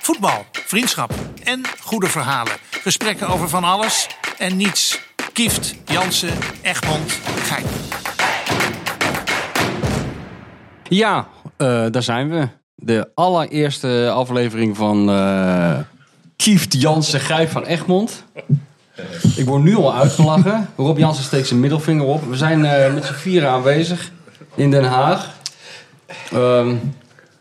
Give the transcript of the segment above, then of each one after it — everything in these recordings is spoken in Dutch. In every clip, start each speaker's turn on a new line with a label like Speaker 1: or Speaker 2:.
Speaker 1: Voetbal, vriendschap en goede verhalen. Gesprekken over van alles en niets. Kieft, Jansen, Egmond, Gein.
Speaker 2: Ja, eh, daar zijn we. De allereerste aflevering van eh Kieft Jansen Gijp van Egmond. Ik word nu al uitgelachen. Rob Jansen steekt zijn middelvinger op. We zijn eh, met z'n vieren aanwezig in Den Haag. Ehm,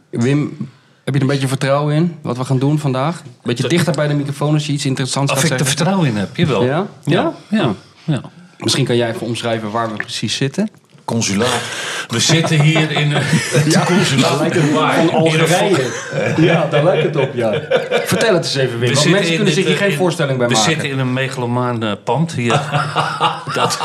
Speaker 2: Wim, heb je er een beetje vertrouwen in wat we gaan doen vandaag? Een beetje dichter bij de microfoon als je iets interessants
Speaker 3: Of
Speaker 2: gaat
Speaker 3: ik er
Speaker 2: zeggen.
Speaker 3: vertrouwen in heb, jawel.
Speaker 2: Ja? Ja?
Speaker 3: ja. ja.
Speaker 2: Misschien kan jij even omschrijven waar we precies zitten.
Speaker 3: Consulaat. We zitten hier in een ja, consulaat. Waar? In een fo-
Speaker 2: Ja, daar lijkt het op, ja. Vertel het eens even, Wim.
Speaker 3: We
Speaker 2: Want
Speaker 3: zitten
Speaker 2: mensen
Speaker 3: in
Speaker 2: kunnen zich
Speaker 3: dit,
Speaker 2: hier
Speaker 3: eh,
Speaker 2: geen
Speaker 3: in-
Speaker 2: voorstelling bij
Speaker 3: we
Speaker 2: maken.
Speaker 3: zitten in een megalomaan eh, pand hier. dat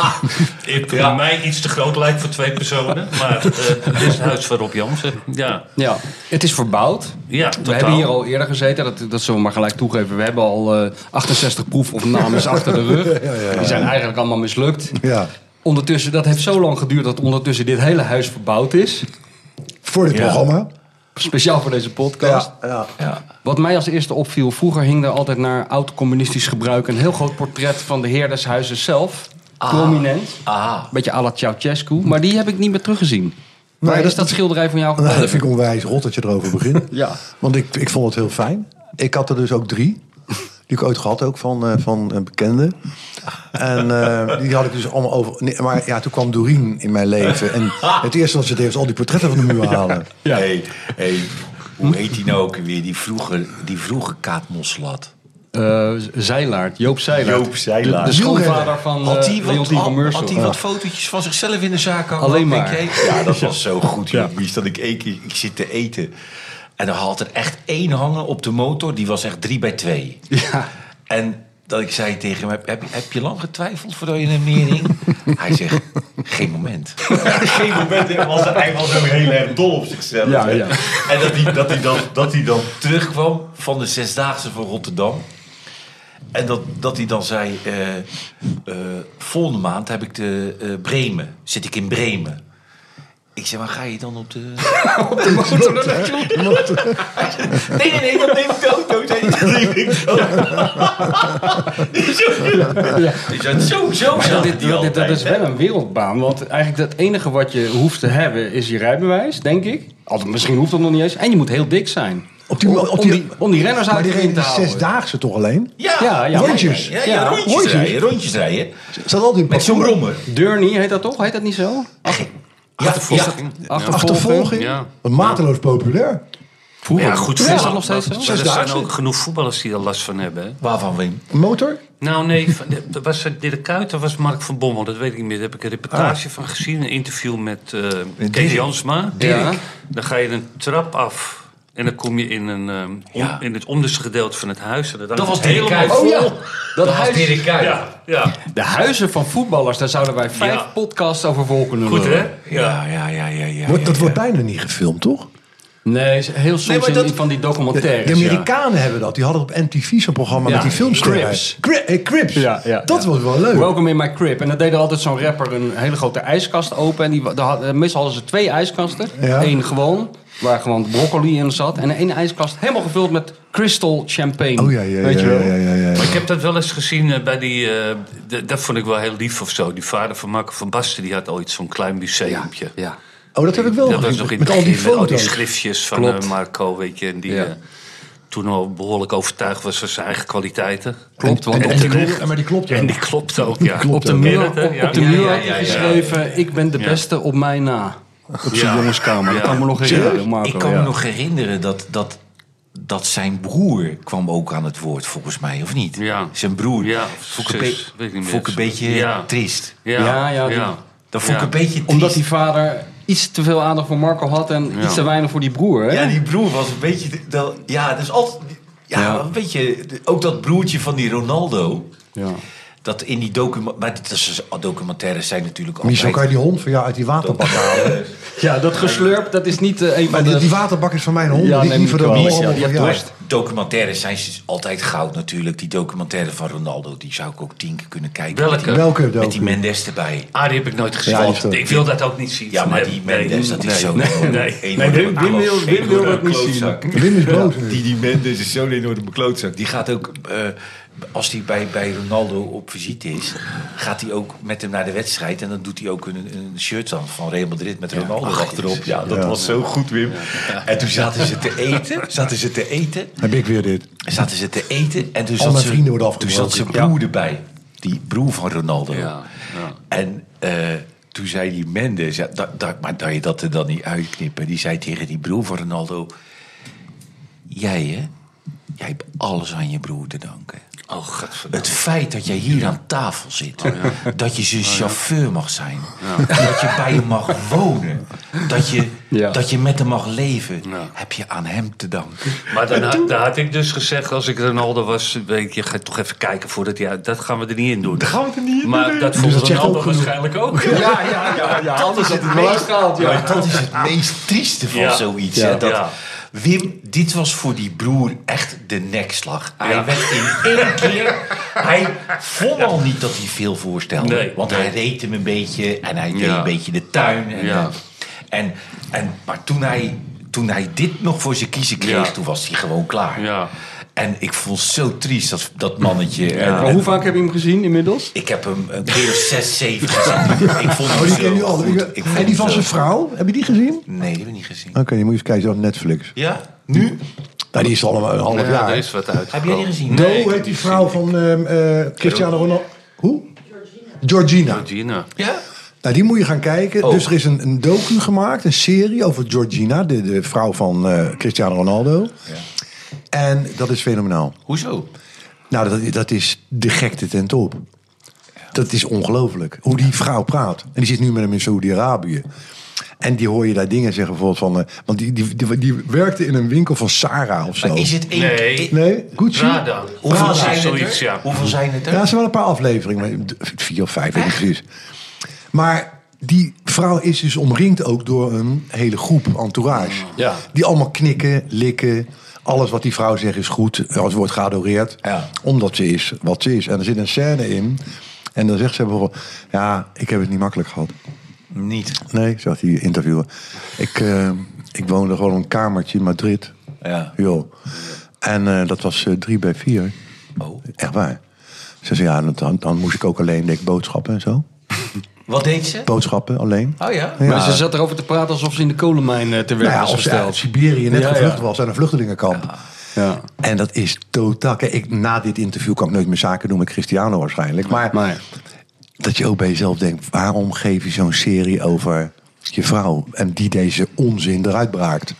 Speaker 3: ik, mij iets te groot lijkt voor twee personen. Maar eh, dit is het huis van Rob Jansen. Ja,
Speaker 2: Ja, het is verbouwd.
Speaker 3: ja
Speaker 2: We
Speaker 3: totaal.
Speaker 2: hebben hier al eerder gezeten, dat, dat zullen we maar gelijk toegeven. We hebben al eh, 68 proef of namens achter de rug. Die zijn eigenlijk allemaal mislukt.
Speaker 4: Ja,
Speaker 2: Ondertussen, dat heeft zo lang geduurd dat ondertussen dit hele huis verbouwd is.
Speaker 4: voor dit programma.
Speaker 2: Speciaal voor deze podcast.
Speaker 4: ja.
Speaker 2: Wat mij als eerste opviel, vroeger hing er altijd naar oud-communistisch gebruik... een heel groot portret van de heer des huizes zelf. Prominent.
Speaker 3: Ah,
Speaker 2: Beetje à la Ceausescu. Maar die heb ik niet meer teruggezien. Waar
Speaker 4: Nee,
Speaker 2: is dat
Speaker 4: dat-
Speaker 2: schilderij van jou
Speaker 4: Nou, dat
Speaker 2: gebleven?
Speaker 4: vind ik onwijs rot dat je erover begint.
Speaker 2: Ja.
Speaker 4: Want ik, ik vond het heel fijn. Ik had er dus ook drie. Die ik ooit gehad ook van, eh, van een bekende. En eh, die had ik dus allemaal over. nee, maar ja, toen kwam Doreen in mijn leven. En het eerste wat ze deed was al die portretten van de muur halen.
Speaker 5: Hey, hey, hoe heet die nou ook weer? Die vroege, die vroege Kaat Moslat.
Speaker 2: Eh, Zeilaert, Joop Zeilaert.
Speaker 5: Joop Zeilaert.
Speaker 2: De, de schoonvader van
Speaker 5: Had
Speaker 2: eh
Speaker 5: hij wat,
Speaker 2: Leontien van
Speaker 5: had,
Speaker 2: Meursel.
Speaker 5: had die wat fotootjes van zichzelf in de zaak hangen?
Speaker 2: Alleen
Speaker 5: Denk
Speaker 2: maar.
Speaker 5: je, hey, ja, dat was zo goed, joh. Mies, Dat ik één keer ik zit te eten. En dan had er echt één hangen op de motor. Die was echt drie bij twee.
Speaker 2: Ja.
Speaker 5: En dat ik zei tegen hem, heb, heb, je- heb je lang getwijfeld voordat je hem neerhing? Hij zegt, geen moment. geen moment. Hij was, hij was ook heel erg dol op zichzelf.
Speaker 2: Ja,
Speaker 5: hè.
Speaker 2: ja.
Speaker 5: En dat hij, dat, hij dan, dat hij dan terugkwam van de Zesdaagse van Rotterdam. En dat, dat hij dan zei, eh, eh, volgende maand heb ik de eh, Bremen. Zit ik in Bremen. Ik zeg, maar ga je dan op de... Nee, nee, nee, dat neem ik ook dood. Nee, dat neem ik dood. Zo, zo,
Speaker 2: Maar
Speaker 5: zo.
Speaker 2: dat, dit, dat, dit- dat is wel een wereldbaan. Want eigenlijk het enige wat je hoeft te hebben is je rijbewijs, denk ik. Altijd, misschien hoeft dat nog niet eens. En je moet heel dik zijn.
Speaker 4: Op die,
Speaker 2: om,
Speaker 4: op
Speaker 2: om die, om die renners
Speaker 4: maar
Speaker 2: uit
Speaker 4: die
Speaker 2: de ring te
Speaker 4: reden
Speaker 2: houden.
Speaker 4: zesdaagse toch alleen?
Speaker 5: Ja,
Speaker 2: Ja, ja,
Speaker 4: Rondjes.
Speaker 5: Ja, ja,
Speaker 2: Ja,
Speaker 5: rondjes
Speaker 4: rondjes.
Speaker 5: rijden, rondjes rijden.
Speaker 4: Ze hadden altijd een
Speaker 5: Met zo'n
Speaker 4: parcours.
Speaker 5: rommer.
Speaker 2: Durney heet dat toch? Heet dat niet zo?
Speaker 5: Ja, ja.
Speaker 4: Achtervolging.
Speaker 3: Ja.
Speaker 4: Mateloos populair.
Speaker 3: ja, goed.
Speaker 2: Is dat
Speaker 3: voetbal-
Speaker 2: nog steeds zo?
Speaker 3: maar Er zijn
Speaker 4: Zesdaagse.
Speaker 3: ook genoeg voetballers die er last van hebben. hè.
Speaker 5: Waarvan, Wim?
Speaker 4: Motor?
Speaker 3: Nou nee, van- de- was het Dirk Kuyt of was het Mark van Bommel? Dat weet ik niet meer. Daar heb ik een reportage
Speaker 5: Ah.
Speaker 3: van gezien. Een interview met eh Kees Jansma.
Speaker 2: Dirk.
Speaker 3: Dan ga je een trap af. En dan kom je in, een, ehm, om-
Speaker 5: Ja.
Speaker 3: in het onderste gedeelte van het huis. En
Speaker 5: Dat was Dirk
Speaker 3: Dirk
Speaker 5: Kuyt.
Speaker 2: Oh ja, dat
Speaker 5: Dat was
Speaker 2: huis.
Speaker 5: Dirk Kuyt.
Speaker 3: Ja, ja.
Speaker 2: De huizen van voetballers, daar zouden wij vijf
Speaker 3: Ja.
Speaker 2: podcasts over vol kunnen
Speaker 3: Goed
Speaker 2: lullen.
Speaker 3: hè? Ja.
Speaker 5: Ja, ja, ja, ja, ja.
Speaker 4: Wordt-
Speaker 5: ja,
Speaker 4: dat
Speaker 5: ja.
Speaker 4: wordt bijna niet gefilmd, toch?
Speaker 2: Nee, heel soms
Speaker 5: maar
Speaker 2: in
Speaker 5: dat-
Speaker 2: die- van die documentaires.
Speaker 4: De
Speaker 2: ja.
Speaker 4: Amerikanen hebben dat. Die hadden op MTV zo'n programma
Speaker 2: Ja,
Speaker 4: met die filmsterren.
Speaker 2: Crips.
Speaker 4: Cri- eh, Crips.
Speaker 2: Ja, ja,
Speaker 4: dat
Speaker 2: ja.
Speaker 4: was wel leuk.
Speaker 2: Welcome in my crib. En dan deed er altijd zo'n rapper een hele grote ijskast open. En die, wa- daar had- eh, meestal hadden ze twee ijskasten.
Speaker 4: Ja.
Speaker 2: Eén gewoon, waar gewoon broccoli in zat. En één ijskast helemaal gevuld met crystal champagne.
Speaker 4: oh ja, ja, ja,
Speaker 2: Weet
Speaker 4: ja,
Speaker 2: je wel?
Speaker 4: ja, ja, ja.
Speaker 3: Maar ik heb dat wel eens gezien eh, bij die... eh, d- dat vond ik wel heel lief of zo. Die vader van Marco van Basten die had ooit zo'n klein
Speaker 2: Ja,
Speaker 3: museumpje.
Speaker 2: ja.
Speaker 4: Oh, dat heb ik wel
Speaker 3: Dat was
Speaker 4: gezien.
Speaker 3: nog in
Speaker 4: Met
Speaker 3: het
Speaker 4: al die
Speaker 3: begin, met al die
Speaker 4: foto's.
Speaker 3: schriftjes van
Speaker 2: Klopt.
Speaker 3: eh, Marco, weet je. En die
Speaker 2: Ja.
Speaker 3: eh, toen al behoorlijk overtuigd was van zijn eigen kwaliteiten.
Speaker 2: Klopt, want
Speaker 3: En
Speaker 2: op de
Speaker 3: terecht.
Speaker 4: muur- maar die klopt ook.
Speaker 3: En die klopt ook, ja.
Speaker 4: klopt
Speaker 2: Op de
Speaker 4: ook.
Speaker 2: muur,
Speaker 3: Ken
Speaker 2: op,
Speaker 3: het, hè? Ja.
Speaker 2: op de
Speaker 3: Ja,
Speaker 2: muur
Speaker 3: ja,
Speaker 2: had hij
Speaker 5: ja, ja.
Speaker 2: geschreven... Ik ben de beste op mij na. Op zijn
Speaker 3: Ja.
Speaker 2: jongenskamer. Dat
Speaker 3: Ja.
Speaker 2: kan me nog herinneren, Marco.
Speaker 5: Ik kan
Speaker 2: ja.
Speaker 5: me nog herinneren dat, dat, dat zijn broer kwam ook aan het woord, volgens mij, of niet?
Speaker 3: Ja.
Speaker 5: Zijn broer.
Speaker 3: Ja,
Speaker 5: vond ik een,
Speaker 3: zus,
Speaker 5: be-
Speaker 3: weet ik niet meer.
Speaker 5: vond ik een beetje
Speaker 3: Ja.
Speaker 5: triest.
Speaker 2: Ja, ja, die-
Speaker 5: Dat vond ik
Speaker 3: Ja.
Speaker 5: een beetje triest.
Speaker 2: Omdat die vader iets te veel aandacht voor Marco had... en
Speaker 3: Ja.
Speaker 2: iets te weinig voor die broer, hè?
Speaker 5: Ja, die broer was een beetje... de- dat- ja, dus altijd... Ja,
Speaker 2: Ja.
Speaker 5: een beetje... de- Ook dat broertje van die Ronaldo...
Speaker 2: Ja.
Speaker 5: Dat in die documentaire... Maar dit is, dus- oh, documentaires zijn natuurlijk altijd...
Speaker 4: Michel, kan je die hond van jou uit die waterbak halen?
Speaker 2: Ja, dat geslurp, dat is niet eh, een
Speaker 4: Maar
Speaker 2: van
Speaker 4: die,
Speaker 2: de...
Speaker 4: die waterbak is van mijn hond.
Speaker 2: Ja,
Speaker 4: die
Speaker 2: neem
Speaker 4: die
Speaker 2: ik
Speaker 4: voor de
Speaker 2: wel.
Speaker 4: boom
Speaker 2: Michel,
Speaker 4: allemaal
Speaker 2: die heeft
Speaker 4: verjaard.
Speaker 2: dorst.
Speaker 5: documentaires zijn ze altijd goud natuurlijk. Die documentaire van Ronaldo, die zou ik ook tien keer kunnen kijken.
Speaker 3: Welke?
Speaker 5: Met die-
Speaker 4: Welke
Speaker 5: Met die
Speaker 4: docu?
Speaker 5: Mendes erbij.
Speaker 3: Ah, die heb ik nooit gezien.
Speaker 4: Ja, die is ook-
Speaker 3: ik wil dat ook niet zien.
Speaker 5: Ja,
Speaker 3: van
Speaker 5: maar
Speaker 3: hem.
Speaker 5: die
Speaker 3: Nee.
Speaker 5: Mendes, dat is
Speaker 3: Nee.
Speaker 5: zo.
Speaker 3: Nee, nee. Wim- Wim wil- Wim wil dat niet zien.
Speaker 4: Wim is boos. nu.
Speaker 5: Die, die Mendes is zo'n enorme klootzak. Die gaat ook, eh, als hij bij, bij Ronaldo op visite is, gaat hij ook met hem naar de wedstrijd. En dan doet hij ook een, een shirt aan van Real Madrid met
Speaker 3: Ah,
Speaker 5: Ronaldo achterop. Ja, dat was zo goed, Wim. En toen zaten ze te eten. Zaten ze te eten.
Speaker 4: Heb ik weer dit.
Speaker 5: En zaten ze te eten. En toen
Speaker 4: Al
Speaker 5: zat
Speaker 4: mijn
Speaker 5: ze-
Speaker 4: vrienden worden
Speaker 5: Toen
Speaker 4: afgebroken.
Speaker 5: zat zijn broer erbij. Die broer van Ronaldo.
Speaker 2: Ja, ja.
Speaker 5: En eh, toen zei die Mendes, ja, da, da- maar dat je dat er dan niet uitknippen. Die zei tegen die broer van Ronaldo... Jij, hè? Jij hebt alles aan je broer te danken.
Speaker 3: Oh, godverdomme.
Speaker 5: Het feit dat jij hier aan tafel zit.
Speaker 2: Oh,
Speaker 5: Dat je zijn chauffeur mag zijn. Dat je bij hem mag wonen. Dat je,
Speaker 2: Ja.
Speaker 5: dat je met hem mag leven. Heb je aan hem te danken.
Speaker 3: Maar dan had, dan had ik dus gezegd, als ik Ronaldo was, weet je, ga toch even kijken voordat hij uit. Dat gaan we er niet in doen. Dat gaan we er niet in doen. Maar dat vond
Speaker 4: Dus dat zegt
Speaker 3: Ronaldo
Speaker 4: ook genoeg.
Speaker 3: waarschijnlijk ook.
Speaker 2: Ja,
Speaker 4: Oh,
Speaker 2: ja, ja. ja. Anders had het wel uitgehaald, ja.
Speaker 5: Maar dat is het meest trieste van
Speaker 3: Ja.
Speaker 5: zoiets.
Speaker 2: Ja.
Speaker 5: Hè? Dat,
Speaker 3: Ja.
Speaker 5: Wim, dit was voor die broer echt de nekslag. Hij werd in één keer... Hij vond al niet dat hij veel voorstelde.
Speaker 3: Nee,
Speaker 5: want
Speaker 3: nee.
Speaker 5: hij reed hem een beetje en hij deed
Speaker 3: Ja.
Speaker 5: een beetje de tuin. En,
Speaker 3: Ja.
Speaker 5: en, en, maar toen hij, toen hij dit nog voor zijn kiezen kreeg,
Speaker 3: Ja.
Speaker 5: toen was hij gewoon klaar.
Speaker 3: Ja.
Speaker 5: En ik vond zo triest dat, dat mannetje. eh, En-
Speaker 2: Maar hoe vaak heb je hem gezien inmiddels?
Speaker 5: ik heb hem een keer of zes, zeven gezien. Ik vond hem
Speaker 4: Oh, die
Speaker 5: zo
Speaker 4: ken je al.
Speaker 5: goed. Ik vond
Speaker 4: En die
Speaker 5: hem
Speaker 4: van
Speaker 5: zo
Speaker 4: zijn
Speaker 5: goed.
Speaker 4: vrouw, heb je die gezien? Oké,
Speaker 5: Nee, die heb ik niet gezien.
Speaker 4: die moet je eens kijken op Netflix.
Speaker 5: Ja? Nu?
Speaker 4: Nou, die is al een half
Speaker 3: Ja,
Speaker 4: jaar.
Speaker 3: er is wat uit.
Speaker 5: Heb jij die gezien?
Speaker 4: Do heet die vrouw van ehm, eh, Cristiano Ronaldo. Hoe? Georgina.
Speaker 3: Gina.
Speaker 5: Ja?
Speaker 4: Nou, die moet je gaan kijken.
Speaker 5: Oh.
Speaker 4: Dus er is een, een docu gemaakt, een serie over Georgina, de, de vrouw van eh, Cristiano Ronaldo. En dat is fenomenaal.
Speaker 5: Hoezo?
Speaker 4: Nou, dat, dat is de gekte ten top. Dat is ongelooflijk. Hoe die vrouw praat. En die zit nu met hem in Saudi-Arabië. En die hoor je daar dingen zeggen, bijvoorbeeld van... eh, want die, die, die, die werkte in een winkel van Sarah of zo.
Speaker 5: Maar is het één...
Speaker 3: Nee.
Speaker 4: Nee, Gucci?
Speaker 3: Prada.
Speaker 5: Hoeveel
Speaker 3: Prada,
Speaker 5: zijn,
Speaker 3: zoiets,
Speaker 5: het er?
Speaker 3: ja.
Speaker 5: Hoeveel zijn het er?
Speaker 4: Ja, ze wel een paar afleveringen, maar vier of vijf, weet ik precies. Maar die vrouw is dus omringd ook door een hele groep entourage.
Speaker 2: Ja.
Speaker 4: Die allemaal knikken, likken. Alles wat die vrouw zegt is goed. Als wordt geadoreerd.
Speaker 5: Ja.
Speaker 4: Omdat ze is wat ze is. En er zit een scène in. En dan zegt ze bijvoorbeeld... Ja, ik heb het niet makkelijk gehad.
Speaker 5: Niet.
Speaker 4: Nee, zegt die interviewer. Ik, eh, ik woonde gewoon een kamertje in Madrid.
Speaker 5: Ja.
Speaker 4: Jo. En eh, dat was eh, drie bij vier.
Speaker 5: Oh.
Speaker 4: Echt waar. Ze zei, ja, dan, dan moest ik ook alleen denk, ik, boodschappen en zo.
Speaker 5: Wat deed ze?
Speaker 4: Boodschappen alleen.
Speaker 2: Ah,
Speaker 5: Oh ja?
Speaker 4: Ja.
Speaker 2: Maar ze zat erover te praten alsof ze in de kolenmijn eh, te werk
Speaker 4: Nou ja,
Speaker 2: was
Speaker 4: als ze uit
Speaker 2: gesteld.
Speaker 4: Siberië net
Speaker 2: Ja,
Speaker 4: gevlucht
Speaker 2: ja.
Speaker 4: was aan een vluchtelingenkamp.
Speaker 2: Ja.
Speaker 4: En dat is totaal... Kijk, ik, na dit interview kan ik nooit meer zaken doen met Cristiano waarschijnlijk. Maar,
Speaker 2: Maar
Speaker 4: dat je ook bij jezelf denkt... waarom geef je zo'n serie over je vrouw... en die deze onzin eruit braakt?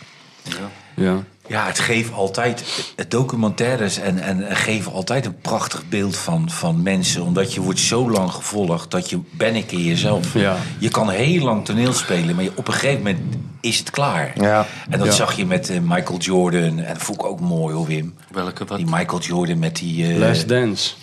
Speaker 2: ja.
Speaker 5: Ja, het geeft altijd... het Documentaires en, en en geven altijd een prachtig beeld van, van mensen. Omdat je wordt zo lang gevolgd dat je ben ik in jezelf.
Speaker 2: Ja.
Speaker 5: Je kan heel lang toneel spelen, maar je- op een gegeven moment is het klaar.
Speaker 4: Ja.
Speaker 5: En dat
Speaker 2: Ja.
Speaker 5: zag je met eh, Michael Jordan. En dat vond ik ook mooi hoor, Wim.
Speaker 3: Welke, wat?
Speaker 5: Die Michael Jordan met die... eh,
Speaker 2: Last Dance.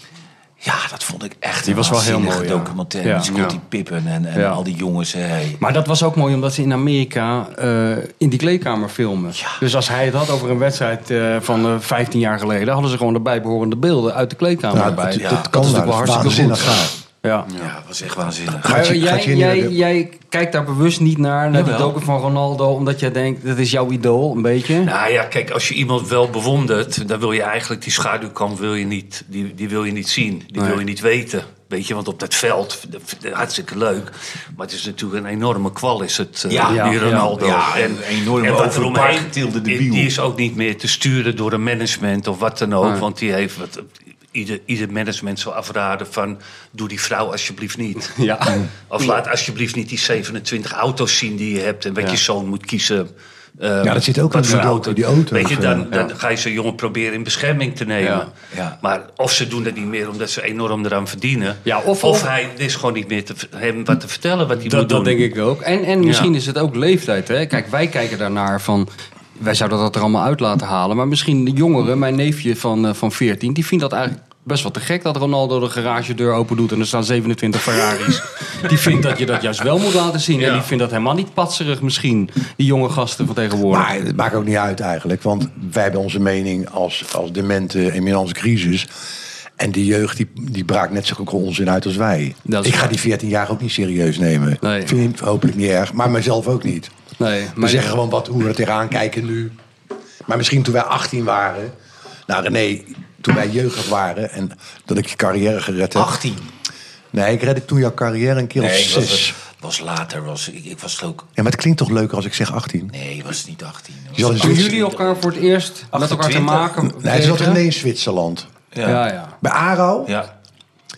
Speaker 5: Ja, dat vond ik echt
Speaker 2: Die
Speaker 5: een
Speaker 2: was wel heel
Speaker 5: waanzinnige
Speaker 2: mooi, ja.
Speaker 5: documentaire.
Speaker 2: Ja.
Speaker 5: Met Scottie
Speaker 2: Ja.
Speaker 5: Pippen en, en
Speaker 2: Ja.
Speaker 5: al die jongens. hè. Hey.
Speaker 2: Maar dat was ook mooi omdat ze in Amerika eh, in die kleedkamer filmen. Dus als hij het had over een wedstrijd eh, van eh, 15 jaar geleden, hadden ze gewoon de bijbehorende beelden uit de kleedkamer
Speaker 4: Nou,
Speaker 2: erbij.
Speaker 4: dat-
Speaker 5: ja,
Speaker 4: dat kan
Speaker 2: is natuurlijk
Speaker 4: daar.
Speaker 2: wel
Speaker 4: Dat is
Speaker 2: hartstikke
Speaker 4: waanzinnig
Speaker 2: goed.
Speaker 4: gaaf.
Speaker 2: Ja.
Speaker 5: Ja, dat was echt waanzinnig.
Speaker 4: Gaat
Speaker 2: Maar
Speaker 4: je-
Speaker 2: jij,
Speaker 4: gaat je in
Speaker 2: jij,
Speaker 4: de-
Speaker 2: jij kijkt daar bewust niet naar, naar die
Speaker 5: Jawel.
Speaker 2: docu van Ronaldo, omdat jij denkt, dat is jouw idool, een beetje.
Speaker 3: Nou ja, kijk, als je iemand wel bewondert, dan wil je eigenlijk die schaduwkant wil je niet, die, die wil je niet zien. Die
Speaker 2: Nee.
Speaker 3: wil je niet weten. Weet je, want op dat veld, dat- dat- hartstikke leuk. Maar het is natuurlijk een enorme kwal, is het, eh,
Speaker 5: Ja,
Speaker 2: ja,
Speaker 3: die Ronaldo.
Speaker 5: ja, een enorme
Speaker 3: wat
Speaker 5: over elkaar
Speaker 3: eromheen-
Speaker 5: getilde
Speaker 3: die-
Speaker 5: debiel.
Speaker 3: Die is ook niet meer te sturen door een management of wat dan ook.
Speaker 2: Nee.
Speaker 3: Want die heeft, wat, ieder, ieder management zou afraden van, doe die vrouw alsjeblieft niet.
Speaker 2: Ja.
Speaker 3: Of laat alsjeblieft niet die 27 auto's zien die je hebt en wat
Speaker 2: Ja.
Speaker 3: je zoon moet kiezen. eh,
Speaker 4: Ja, dat zit ook
Speaker 3: wat
Speaker 4: in die
Speaker 3: voor
Speaker 4: docu, die auto's,
Speaker 3: Weet je, dan,
Speaker 2: ja.
Speaker 3: dan ga je zo'n jongen proberen in bescherming te nemen.
Speaker 2: Ja,
Speaker 5: ja.
Speaker 3: Maar of ze doen dat niet meer omdat ze enorm eraan verdienen.
Speaker 2: Ja, of-
Speaker 3: of,
Speaker 2: of-
Speaker 3: hij er is gewoon niet meer te, hem wat te vertellen wat hij moet
Speaker 2: Dat, dat
Speaker 3: doen.
Speaker 2: denk ik ook. En, en misschien is het ook leeftijd. Hè? Kijk, wij kijken daarnaar van. Wij zouden dat er allemaal uit laten halen. Maar misschien de jongeren, mijn neefje van, eh, van 14, die vindt dat eigenlijk best wel te gek dat Ronaldo de garagedeur open doet en er staan 27 Ferraris. die vindt dat je dat juist wel moet laten zien. En die vindt dat helemaal niet patserig misschien, die jonge gasten van tegenwoordig.
Speaker 4: Maar het maakt ook niet uit eigenlijk. Want wij hebben onze mening als, als dementen in onze crisis. En die jeugd die, die braakt net zo onzin uit als wij.
Speaker 2: Dat is
Speaker 4: Ik ga
Speaker 2: waar.
Speaker 4: die 14 jaar ook niet serieus nemen.
Speaker 2: Nee.
Speaker 4: Vind ik hopelijk niet erg. Maar mezelf ook niet.
Speaker 2: nee,
Speaker 4: We zeggen gewoon wat, hoe we er tegenaan kijken nu. Maar misschien toen wij 18 waren. Nou René, toen wij jeugdig waren. En dat ik je carrière gered heb.
Speaker 5: 18.
Speaker 4: Nee, ik redde toen jouw carrière een keer of
Speaker 5: Nee, was,
Speaker 4: zes.
Speaker 5: was later. Was, ik, ik was ook...
Speaker 4: Ja, maar het klinkt toch leuker als ik zeg 18?
Speaker 5: Nee, was niet 18.
Speaker 4: Je zat in
Speaker 2: Toen
Speaker 4: Zwitserland.
Speaker 2: jullie elkaar voor het eerst met elkaar te
Speaker 5: 28?
Speaker 2: maken
Speaker 4: Nee, het zat
Speaker 2: kregen-
Speaker 4: René in Zwitserland.
Speaker 5: Ja.
Speaker 2: Ja,
Speaker 5: Ja.
Speaker 2: ja.
Speaker 4: Bij Aro?
Speaker 5: Ja.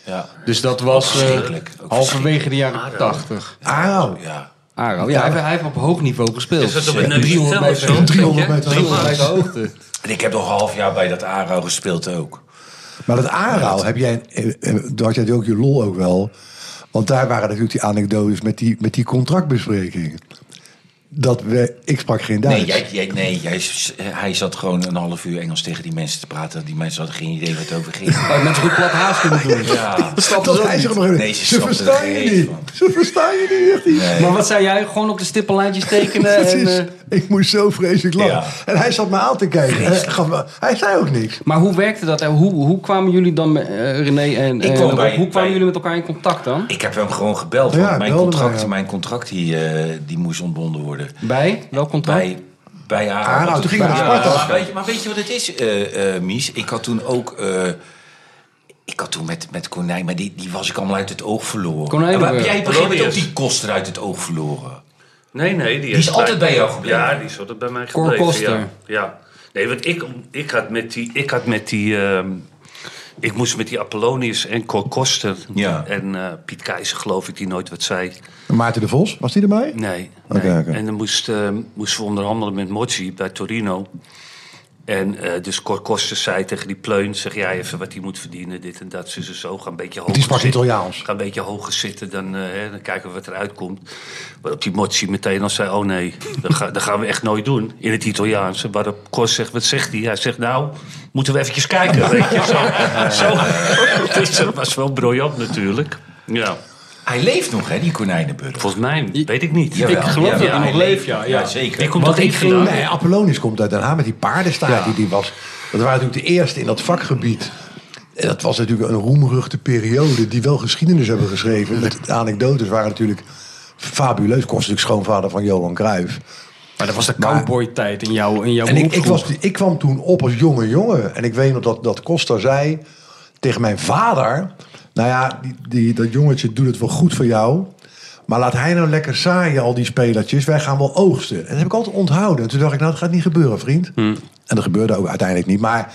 Speaker 5: Ja.
Speaker 2: Dus dat was eh,
Speaker 5: Verschrikkelijk. Ook
Speaker 2: halverwege de jaren 80.
Speaker 4: Aro.
Speaker 2: Aro, ja, Ah, hij, hij heeft op hoog niveau gespeeld.
Speaker 3: Is dat op een
Speaker 2: 300
Speaker 3: neutraal of
Speaker 2: meter
Speaker 3: zo?
Speaker 4: 300 meter hoog.
Speaker 2: 300 meter hoogte.
Speaker 5: En ik heb nog een half jaar bij dat ARO gespeeld ook.
Speaker 4: Maar dat Aarau, heb jij, eh, eh, daar had jij ook je lol ook wel. Want daar waren natuurlijk die anekdotes met die, met die contractbespreking. Dat we, ik sprak geen Duits.
Speaker 5: Nee, jij, jij, nee jij, s- hij zat gewoon een half uur Engels tegen die mensen te praten. Die mensen hadden geen idee waar het over ging.
Speaker 2: Maar mensen goed plat haast kunnen doen.
Speaker 5: Ja.
Speaker 4: dat hij zich nog even-
Speaker 5: Nee, ze
Speaker 4: ze
Speaker 5: snapten er
Speaker 4: verstaan
Speaker 5: geen
Speaker 4: je
Speaker 5: reet
Speaker 4: niet.
Speaker 5: van.
Speaker 4: Ze verstaan je niet, zegt hij.
Speaker 2: Maar wat zei jij? Gewoon op de stippellijntjes tekenen? en,
Speaker 4: Precies.
Speaker 2: eh,
Speaker 4: ik moest zo vreselijk lachen.
Speaker 5: Ja.
Speaker 4: En hij zat me aan te kijken. Hij, gaf me- hij zei ook niks.
Speaker 2: maar hoe werkte dat? En Hoe, hoe kwamen jullie dan, met, eh, René en,
Speaker 5: Ik
Speaker 2: en
Speaker 5: kwam
Speaker 2: Rob,
Speaker 5: bij-
Speaker 2: hoe kwamen
Speaker 5: bij-
Speaker 2: jullie met elkaar in contact dan?
Speaker 5: Ik heb hem gewoon gebeld.
Speaker 4: Ja,
Speaker 5: Want mijn,
Speaker 4: belde
Speaker 5: contract,
Speaker 4: mij, ja.
Speaker 5: mijn contract die, eh, die moest ontbonden worden.
Speaker 2: Bij? Welk contract?
Speaker 5: Bij, bij ARO.
Speaker 4: ARO,
Speaker 5: Want-
Speaker 4: toen ging hij
Speaker 5: Ja,
Speaker 4: naar Sparta.
Speaker 5: maar weet je- Maar weet je wat het is, eh, eh, Mies? Ik had toen ook... eh, ik had toen met, met Konijn, maar die, die was ik allemaal uit het oog verloren.
Speaker 2: Konijn,
Speaker 5: En maar
Speaker 2: eh,
Speaker 5: heb jij op een gegeven moment ook
Speaker 3: Rodius.
Speaker 5: die koster uit het oog verloren?
Speaker 3: Nee, nee. Die,
Speaker 5: is altijd bij jou gebleven.
Speaker 3: Ja, die is altijd bij mij
Speaker 2: Cor
Speaker 3: gebleven.
Speaker 2: Koster.
Speaker 3: Ja. ja. Nee, want ik, ik had met die... Ik, had met die ehm, ik moest met die Apollonius en Cor Koster
Speaker 5: Ja.
Speaker 3: en eh, Piet Keizer, geloof ik, die nooit wat zei.
Speaker 4: Maarten de Vos, was die erbij?
Speaker 3: Nee.
Speaker 4: Oké,
Speaker 3: nee.
Speaker 4: oké.
Speaker 3: En dan moest, eh, moesten we onderhandelen met Mozzi bij Torino. En eh, dus Cor Koster zei tegen die pleun, zeg jij even wat hij moet verdienen, dit en dat, zus en zo. Ga een beetje hoger
Speaker 4: Die sprak
Speaker 3: zitten.
Speaker 4: Italiaans.
Speaker 3: Ga een beetje hoger zitten, dan, eh, hè, dan kijken we wat eruit komt. Waarop die Mozzi meteen al zei, oh nee, dat, ga- dat gaan we echt nooit doen in het Italiaans. En Waarop Koster zegt, wat zegt hij? Hij zegt, nou, moeten we eventjes kijken, weet je. Zo, zo. Dus dat was wel briljant natuurlijk. Ja,
Speaker 5: Hij leeft nog, hè, die konijnenburger.
Speaker 3: volgens mij, weet ik niet.
Speaker 5: Jawel,
Speaker 2: geloof dat hij nog leeft, ja, ja.
Speaker 5: zeker.
Speaker 3: Die komt
Speaker 2: Want
Speaker 3: toch
Speaker 2: ik
Speaker 3: niet
Speaker 2: ging-
Speaker 3: vandaan?
Speaker 4: Nee, Apollonius komt uit Den Haag met die paardenstaart die die was. Dat waren natuurlijk de eerste in dat vakgebied. En dat was natuurlijk een roemruchte periode die wel geschiedenis hebben geschreven. Met de anekdotes waren natuurlijk fabuleus. Kost natuurlijk schoonvader van Johan Cruijff.
Speaker 2: Maar dat was de
Speaker 4: Maar-
Speaker 2: cowboy-tijd in, jou, in jouw
Speaker 4: En ik, ik,
Speaker 2: beroepsgroep.
Speaker 4: was, ik kwam toen op als jonge jongen. En ik weet nog dat, dat Costa zei tegen mijn vader... Nou ja, die, die, dat jongetje doet het wel goed voor jou. Maar laat hij nou lekker saaien, al die spelertjes. Wij gaan wel oogsten. En dat heb ik altijd onthouden. En toen dacht ik, nou, dat gaat niet gebeuren, vriend. En dat gebeurde ook uiteindelijk niet. Maar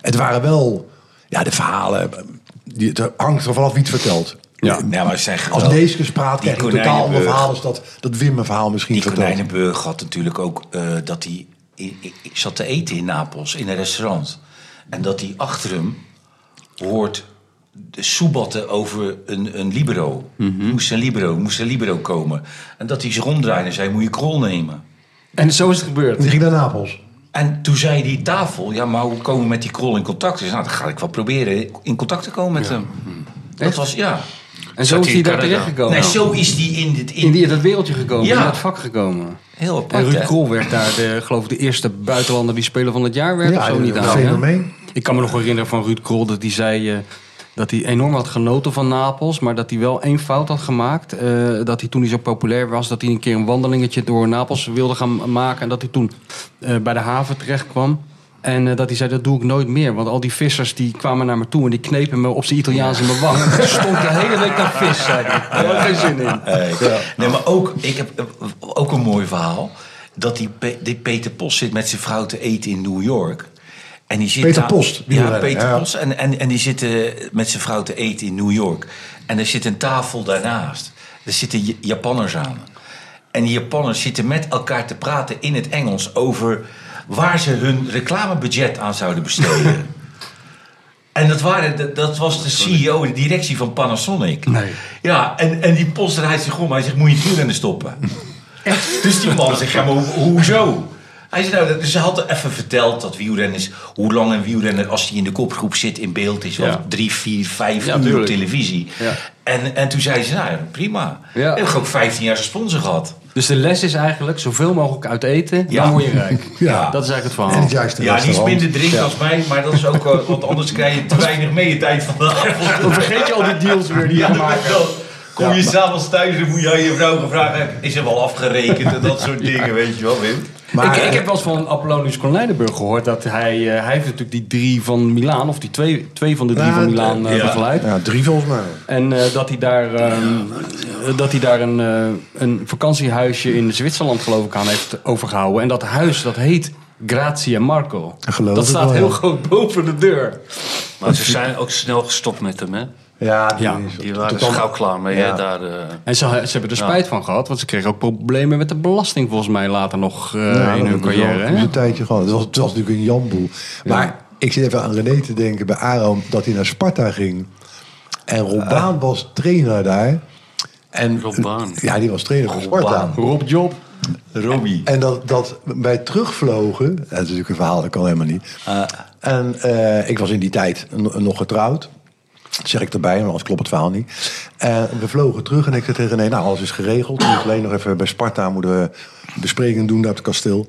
Speaker 4: het waren wel... Ja, de verhalen... Die, het hangt er vanaf wie het vertelt.
Speaker 5: Ja, nee, maar ze zijn
Speaker 4: Als
Speaker 5: geweldig.
Speaker 4: Neeskens praat,
Speaker 5: Die
Speaker 4: krijg je een totaal ander
Speaker 5: konijnenburg.
Speaker 4: verhaal... als dat, dat Wim een verhaal misschien
Speaker 5: Die
Speaker 4: vertelt.
Speaker 5: konijnenburg had natuurlijk ook eh, dat hij i- i- i- zat te eten in Napels in een restaurant. En dat hij achter hem hoort de soebatten over een, een libero. Moest een libero, moest een libero komen. En dat hij zich omdraaide en zei, moet je krol nemen.
Speaker 2: En zo is het gebeurd.
Speaker 4: Die ging naar Napels.
Speaker 5: En toen zei die tafel, ja, maar hoe komen we met die krol in contact? Dus nou, dan ga ik wel proberen in contact te komen met hem. Dat
Speaker 2: Echt?
Speaker 5: was, ja.
Speaker 2: En zo
Speaker 3: Zat
Speaker 2: is hij
Speaker 3: hij in
Speaker 2: daar
Speaker 3: Canada?
Speaker 2: terechtgekomen.
Speaker 5: nee, zo is die in dit... In,
Speaker 2: In, die, in dat wereldje gekomen,
Speaker 5: Ja.
Speaker 2: in dat vak gekomen.
Speaker 5: heel
Speaker 2: En
Speaker 5: apart,
Speaker 2: Ruud
Speaker 5: hè?
Speaker 2: Krol werd daar, de, geloof ik, de eerste buitenlander die speler van het jaar werd.
Speaker 4: Ja,
Speaker 2: of zo
Speaker 4: dat is
Speaker 2: niet
Speaker 4: een
Speaker 2: aan, hè?
Speaker 4: fenomeen.
Speaker 2: Ik kan me nog herinneren van Ruud Krol dat hij zei... eh, dat hij enorm had genoten van Napels, maar dat hij wel één fout had gemaakt. Eh, dat hij toen hij zo populair was, dat hij een keer een wandelingetje door Napels wilde gaan maken. En dat hij toen eh, bij de haven terecht kwam. En eh, dat hij zei, dat doe ik nooit meer. Want al die vissers die kwamen naar me toe en die knepen me op zijn Italiaans in mijn wang. En ik stond de hele week naar vis, zei hij. Daar had ik geen zin in.
Speaker 5: Eh, Nee, maar ook, ik heb eh, ook een mooi verhaal. Dat die, Pe- die Peter Post zit met zijn vrouw te eten in New York. En die zit
Speaker 4: Peter
Speaker 5: daar-
Speaker 4: Post, die
Speaker 5: Ja,
Speaker 4: wil hij,
Speaker 5: Peter
Speaker 4: ja.
Speaker 5: Post. En, en, en die zit eh, met zijn vrouw te eten in New York. En er zit een tafel daarnaast. Er zitten Ja- Japanners aan. En die Japanners zitten met elkaar te praten in het Engels over waar ze hun reclamebudget aan zouden besteden. En dat, waren, dat, dat was de CEO, de directie van Panasonic.
Speaker 2: Nee.
Speaker 5: Ja, en, en die post draait zich om. Hij zegt, moet je het wielrennen stoppen? Dus die man zegt, ja, maar ho- hoezo? Hij zei, nou, ze had even verteld dat wielrenners, hoe lang een wielrenner als hij in de kopgroep zit in beeld is. Want
Speaker 2: Ja.
Speaker 5: drie, vier, vijf
Speaker 2: Ja,
Speaker 5: uur
Speaker 2: tuurlijk.
Speaker 5: op televisie.
Speaker 2: Ja.
Speaker 5: En, en toen zei ze, nou ja, prima.
Speaker 2: Ja.
Speaker 5: Heb ik ook 15 jaar sponsor gehad.
Speaker 2: Dus de les is eigenlijk zoveel mogelijk uit eten,
Speaker 5: Ja.
Speaker 2: dan word je rijk.
Speaker 5: Ja.
Speaker 2: Dat is eigenlijk het
Speaker 4: En
Speaker 2: verhaal.
Speaker 4: het juiste
Speaker 5: Ja, niet
Speaker 4: restaurant.
Speaker 5: minder drinken als mij, maar dat is ook wel, want anders krijg je te weinig mee in tijd van de avond.
Speaker 2: Dan vergeet je al die deals weer die je
Speaker 5: Ja,
Speaker 2: maakt.
Speaker 5: dan kom je s'avonds thuis en moet je aan je vrouw gevraagd hebben, is er wel afgerekend en dat soort dingen, weet je wel, Wim?
Speaker 4: Maar- eh,
Speaker 2: ik, ik heb wel eens van Apollonius Cornelenburg gehoord dat hij, eh, hij heeft natuurlijk die drie van Milaan, of die twee, twee van de drie
Speaker 4: Ja,
Speaker 2: van Milaan eh,
Speaker 5: ja.
Speaker 2: begeleid.
Speaker 4: Ja, drie volgens mij.
Speaker 2: En eh, dat hij daar, ehm, eh, dat hij daar een, eh, een vakantiehuisje in Zwitserland geloof ik aan heeft overgehouden. En dat huis dat heet Grazie Marco.
Speaker 4: Geloof
Speaker 2: dat
Speaker 4: ik
Speaker 2: staat
Speaker 4: wel, ja.
Speaker 2: heel groot boven de deur.
Speaker 3: Maar ze zijn ook snel gestopt met hem, hè?
Speaker 4: Ja, die,
Speaker 2: Ja.
Speaker 4: is-
Speaker 3: Die waren
Speaker 4: toen-
Speaker 3: gauw klaar mee,
Speaker 4: Ja.
Speaker 3: hè? Daar, eh.
Speaker 2: En ze, ze hebben er spijt van gehad, want ze kregen ook problemen met de belasting volgens mij later nog eh,
Speaker 4: Ja,
Speaker 2: in
Speaker 4: dat
Speaker 2: hun
Speaker 4: hebben we
Speaker 2: carrière.
Speaker 4: wel. Het is
Speaker 2: hè?
Speaker 4: een tijdje gewoon. Het was, het was natuurlijk een jamboel. Maar ik zit even aan René te denken bij Aram dat hij naar Sparta ging. En Rob Baan
Speaker 2: Eh.
Speaker 4: was trainer daar. En,
Speaker 3: Rob Baan.
Speaker 4: Ja, die was trainer van Sparta.
Speaker 5: Baan.
Speaker 2: Rob Job.
Speaker 5: Robbie.
Speaker 4: En dat, dat wij terugvlogen, dat is natuurlijk een verhaal, dat kan helemaal niet. En eh, ik was in die tijd n- nog getrouwd. Dat zeg ik erbij, maar anders klopt het verhaal niet. En we vlogen terug en ik zei tegen nee, nou alles is geregeld. We moeten alleen nog even bij Sparta moeten we besprekingen doen daar op het kasteel.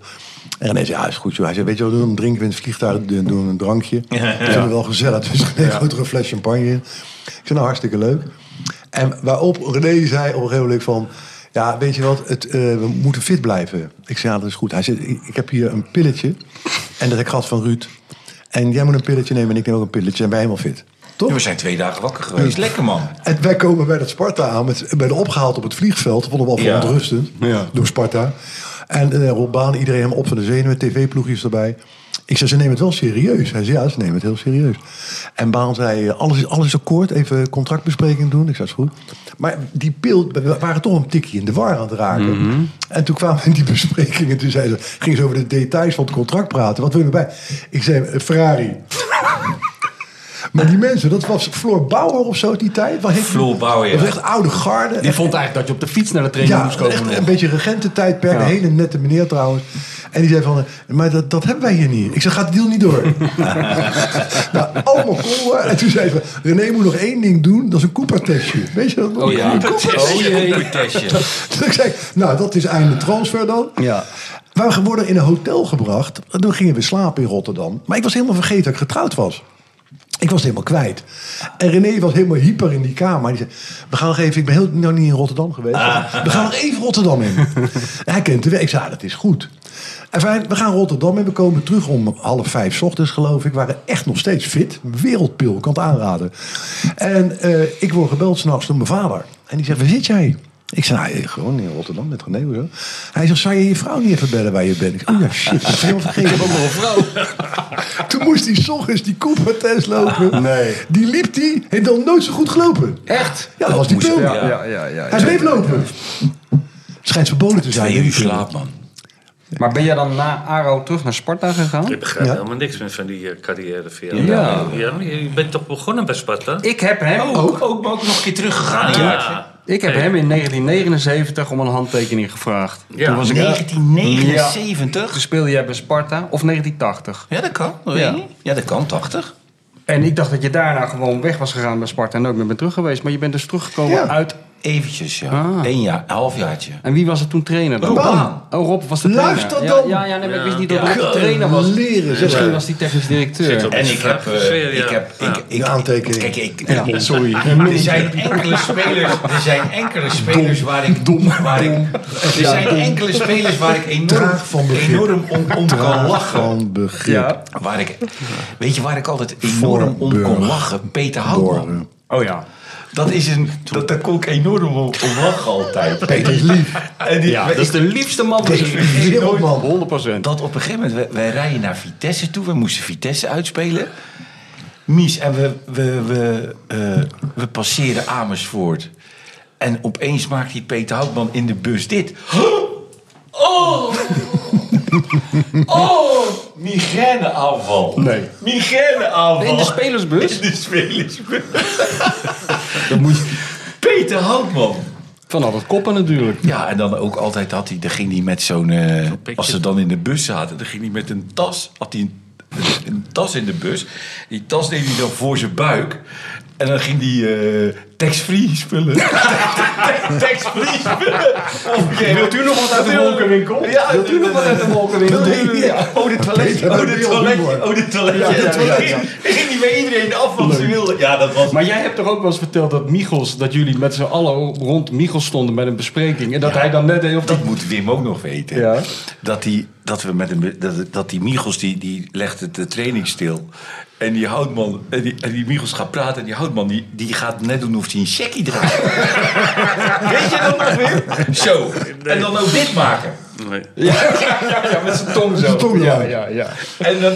Speaker 4: En hij zei, ja is goed zo. Hij zei, weet je wat we doen? Dan drinken we in het vliegtuig, doen doen we een drankje. Ja, ja. Dat wel gezellig. Dus René gooit er een fles champagne in. Ik zei, nou hartstikke leuk. En waarop René zei op een gegeven moment van... Ja, weet je wat, het, eh, we moeten fit blijven. Ik zei, ja, dat is goed. Hij zei, ik ik heb hier een pilletje. En dat heb ik gehad van Ruud. En jij moet een pilletje nemen en ik neem ook een pilletje. En wij helemaal fit. Toch?
Speaker 5: Ja, we zijn twee dagen wakker geweest. Lekker man.
Speaker 4: En wij komen bij dat Sparta aan. Met, bij de opgehaald op het vliegveld. Vonden we al
Speaker 5: Ja.
Speaker 4: verontrustend.
Speaker 2: Ja.
Speaker 4: Door Sparta. En eh Rob Baan, iedereen hem op van de zenuwen. TV-ploegjes erbij. Ik zei, ze nemen het wel serieus. Hij zei, ja, ze nemen het heel serieus. En Baan zei, eh, alles is, alles is akkoord. Even contractbespreking doen. Ik zei, is goed. Maar die pil, we waren toch een tikje in de war aan het raken. En toen kwamen we in die besprekingen. Toen zeiden ze, gingen ze over de details van het contract praten. Wat wil je erbij? Ik zei, eh, Ferrari. Maar die mensen, dat was Floor Bauer of zo die tijd. Wat heet die?
Speaker 5: Floor Bauer, ja.
Speaker 4: Dat was echt oude garde.
Speaker 2: Die vond eigenlijk dat je op de fiets naar de training
Speaker 4: ja,
Speaker 2: moest komen.
Speaker 4: echt
Speaker 2: nog.
Speaker 4: een beetje regententijdperk.
Speaker 2: Ja.
Speaker 4: Een hele nette meneer trouwens. En die zei van, eh, maar dat, dat hebben wij hier niet. Ik zei, gaat de deal niet door? nou, allemaal cool. En toen zei ze, René moet nog één ding doen. Dat is een Cooper-testje. Weet je dat? nog?
Speaker 2: Oh ja.
Speaker 4: Een
Speaker 5: Oh
Speaker 4: Cooper-testje.
Speaker 5: jee. Testje.
Speaker 4: Dus ik zei, nou, dat is einde transfer dan.
Speaker 2: Ja.
Speaker 4: Maar we worden in een hotel gebracht. Toen gingen we slapen in Rotterdam. Maar ik was helemaal vergeten dat ik getrouwd was. Ik was het helemaal kwijt. En René was helemaal hyper in die kamer. Die zei, we gaan nog even, ik ben heel, nog niet in Rotterdam geweest. We gaan nog even Rotterdam in. En hij kent de weg. Ik zei, ah, dat is goed. En wij- we gaan Rotterdam en we komen terug om half vijf 's ochtends geloof ik. We waren echt nog steeds fit. Wereldpil, kan het aanraden. En eh, ik word gebeld s'nachts door mijn vader. En die zegt, waar zit jij? Ik zei, nou, eh, gewoon in Rotterdam met René. hoezo? Hij zegt, zou je je vrouw niet even bellen waar je bent? Ik zei, oh ja, shit, dat heb ik helemaal vergeten. Toen moest hij 's ochtends die Cooper test lopen.
Speaker 2: Nee.
Speaker 4: Die liep die, heeft dan nooit zo goed gelopen.
Speaker 5: Echt?
Speaker 4: Ja, dat was die
Speaker 5: moest-
Speaker 4: pil.
Speaker 5: ja, ja.
Speaker 4: Hij bleef lopen. Het schijnt verboden te zijn.
Speaker 5: Twee
Speaker 4: die
Speaker 5: uur
Speaker 4: pil.
Speaker 5: slaap, man.
Speaker 2: Maar ben jij dan na Aro terug naar Sparta gegaan?
Speaker 3: Ik begrijp
Speaker 4: Ja.
Speaker 3: helemaal niks meer van die eh, carrière van jou.
Speaker 2: Ja.
Speaker 3: ja. Je bent toch begonnen bij Sparta?
Speaker 2: Ik heb hem
Speaker 5: Ook, ook, ook, nog een keer teruggegaan. Ja.
Speaker 2: Ik heb
Speaker 3: Hey.
Speaker 2: hem in 1979 om een handtekening gevraagd.
Speaker 3: Ja.
Speaker 2: Toen was ik
Speaker 5: 1979?
Speaker 2: Toen speelde jij bij Sparta, of 1980.
Speaker 5: Ja, dat kan. dat weet
Speaker 2: Ja.
Speaker 5: ik niet. ja, dat kan. 80.
Speaker 2: En ik dacht dat je daarna gewoon weg was gegaan bij Sparta en nooit meer bent terug geweest. Maar je bent dus teruggekomen
Speaker 4: Ja.
Speaker 2: uit...
Speaker 5: Eventjes, ja.
Speaker 2: Ah.
Speaker 5: Eén jaar, een halfjaartje.
Speaker 2: En wie was er toen trainer dan?
Speaker 4: Rob
Speaker 2: Oh,
Speaker 4: Baan.
Speaker 2: Rob was de trainer.
Speaker 4: Luister
Speaker 2: Ja,
Speaker 4: dan.
Speaker 2: Ja, ja, nee, maar ik wist niet dat
Speaker 5: Ja.
Speaker 2: Rob de trainer was.
Speaker 4: Leren, zeg.
Speaker 2: Misschien was hij technisch directeur.
Speaker 3: Zit op-
Speaker 5: En ik heb... eh,
Speaker 3: Sfeer, ja.
Speaker 5: ik heb
Speaker 3: Ja.
Speaker 5: ik, ik,
Speaker 4: De aantekening.
Speaker 5: Kijk, ik,
Speaker 2: Ja, sorry.
Speaker 5: Er zijn enkele spelers, er zijn enkele spelers waar ik waar ik er zijn enkele spelers waar ik enorm
Speaker 4: Traag van begrip.
Speaker 5: enorm om, om kan lachen.
Speaker 4: Van begrip.
Speaker 2: Ja.
Speaker 5: Waar ik, weet je waar ik altijd enorm om kon
Speaker 4: Voorburg.
Speaker 5: lachen? Peter
Speaker 4: Door.
Speaker 5: Houtman.
Speaker 2: Oh ja.
Speaker 5: Dat is een, dat, daar kon ik enorm om, om lachen altijd.
Speaker 4: Peter is lief.
Speaker 5: En die,
Speaker 2: Ja,
Speaker 5: ik-
Speaker 2: dat is de liefste man die
Speaker 5: ik-
Speaker 2: ik
Speaker 5: ik-
Speaker 4: Heel
Speaker 5: nooit-
Speaker 4: man.
Speaker 2: 100 procent.
Speaker 5: dat op een gegeven moment, wij, wij rijden naar Vitesse toe. We moesten Vitesse uitspelen. Mies, en we, we, we, eh, we passeren Amersfoort. En opeens maakt die Peter Houtman in de bus dit. Oh! Oh! Migraineaanval.
Speaker 2: Nee.
Speaker 5: Migraineaanval.
Speaker 2: In de spelersbus?
Speaker 5: In de spelersbus. Peter Houtman.
Speaker 2: Van al dat koppen natuurlijk.
Speaker 5: Ja, en dan ook altijd had hij, dan ging hij met zo'n. eh,
Speaker 3: pikje.
Speaker 5: als ze dan in de bus zaten, dan ging hij met een tas. Had hij een, een tas in de bus. Die tas deed hij dan voor zijn buik. En dan ging hij eh tax-free spullen. tax-free spullen. Of, je-
Speaker 2: Wilt u nog wat uit de wolkenwinkel?
Speaker 5: Ja,
Speaker 2: Wilt u nog wat uit de wolkenwinkel?
Speaker 5: Ja. Oh, dit toiletje. Oh, dit toiletje. Oh, dit toiletje. Ja, Ging hij bij iedereen af wat ze wilde. Ja, dat was
Speaker 2: Maar jij hebt toch ook wel eens verteld dat Michels, dat jullie met z'n allen rond Michels stonden met een bespreking. En dat hij dan net deed of
Speaker 5: Dat moet Wim ook nog weten.
Speaker 2: Ja.
Speaker 5: Dat, die, dat, we met een, dat, dat die Michels, die, die legde de training stil. En die houtman, en die, en die Michels gaat praten. En die houtman, die, die gaat net doen of hij een checkie draait. Weet je dat nog weer? Zo. En dan ook dit maken.
Speaker 3: Nee.
Speaker 2: Ja, ja, met zijn tong zo.
Speaker 4: tong
Speaker 2: ja,
Speaker 4: erbij.
Speaker 2: ja, ja.
Speaker 5: En dan...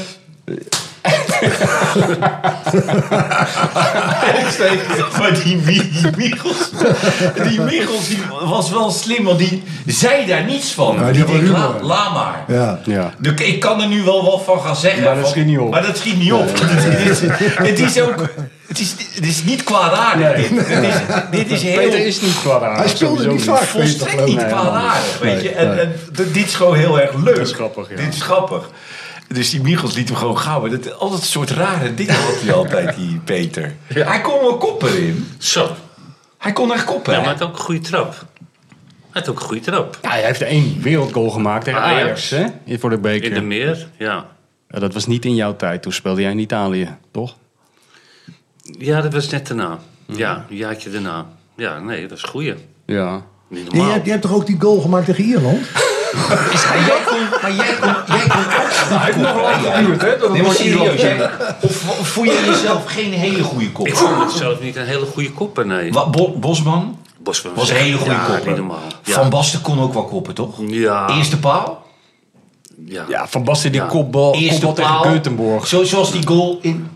Speaker 5: maar die, Mie- die Michels, die Michels die was wel slim, want die zei daar niets van.
Speaker 4: Ja, die
Speaker 5: die
Speaker 4: had wel
Speaker 5: denkt, la,
Speaker 4: humor.
Speaker 5: la maar.
Speaker 4: Ja.
Speaker 2: Ja.
Speaker 5: De- Dus ik kan er nu wel wat van gaan zeggen.
Speaker 2: Maar dat
Speaker 5: van-
Speaker 2: schiet niet op.
Speaker 5: Maar dat schiet niet op. het, is, het is ook... Het is, het is niet kwaadaardig. dit. Het is, dit is heel...
Speaker 2: Peter is niet kwaad.
Speaker 4: Hij speelde niet vaak. Peter,
Speaker 5: volstrekt
Speaker 4: geloof
Speaker 5: niet
Speaker 4: ik.
Speaker 5: kwaadaardig, weet je. En, en d- dit is gewoon heel erg leuk.
Speaker 2: is grappig, ja.
Speaker 5: Dit is grappig. Dus die Michels liet hem gewoon gaan. Maar dat, altijd een soort rare dingen had hij altijd, die Peter. Hij kon wel koppen in.
Speaker 3: Zo.
Speaker 5: Hij kon echt koppen.
Speaker 3: Ja, maar
Speaker 5: hè?
Speaker 3: hij had ook een goede trap. Hij had ook een goede trap.
Speaker 2: Ja, hij heeft één wereldgoal gemaakt tegen Ajax,
Speaker 3: Ajax.
Speaker 2: hè? In- Voor de beker.
Speaker 3: In de meer, ja.
Speaker 2: Ja, dat was niet in jouw tijd. Toen speelde jij in Italië, toch?
Speaker 3: Ja, dat was net daarna. Ja, een jaartje daarna. Ja, nee, dat was een goeie.
Speaker 2: Ja.
Speaker 3: Niet
Speaker 4: Je
Speaker 3: normaal.
Speaker 4: hebt, je hebt toch ook die goal gemaakt tegen Ierland?
Speaker 5: Maar jij kon, maar jij kon, jij kon ook koppen.
Speaker 2: hè?
Speaker 5: Nee, maar serieus. jij- Of, of voel je jezelf geen hele goede kop?
Speaker 3: Ik vond het zelf niet een hele goede kopper, nee.
Speaker 5: Wat, Bo- Bosman?
Speaker 3: Bos van
Speaker 5: Was een hele goede
Speaker 3: ja,
Speaker 5: kopper.
Speaker 3: Niet normaal. Ja.
Speaker 5: Van Basten kon ook wel koppen, toch?
Speaker 3: Ja.
Speaker 5: Eerste paal.
Speaker 3: ja.
Speaker 2: Ja, Van Basten die
Speaker 3: Ja.
Speaker 2: kopbal,
Speaker 5: Eerste
Speaker 2: kopbal tegen
Speaker 5: paal.
Speaker 2: Göteborg.
Speaker 5: Zo, zoals die goal in...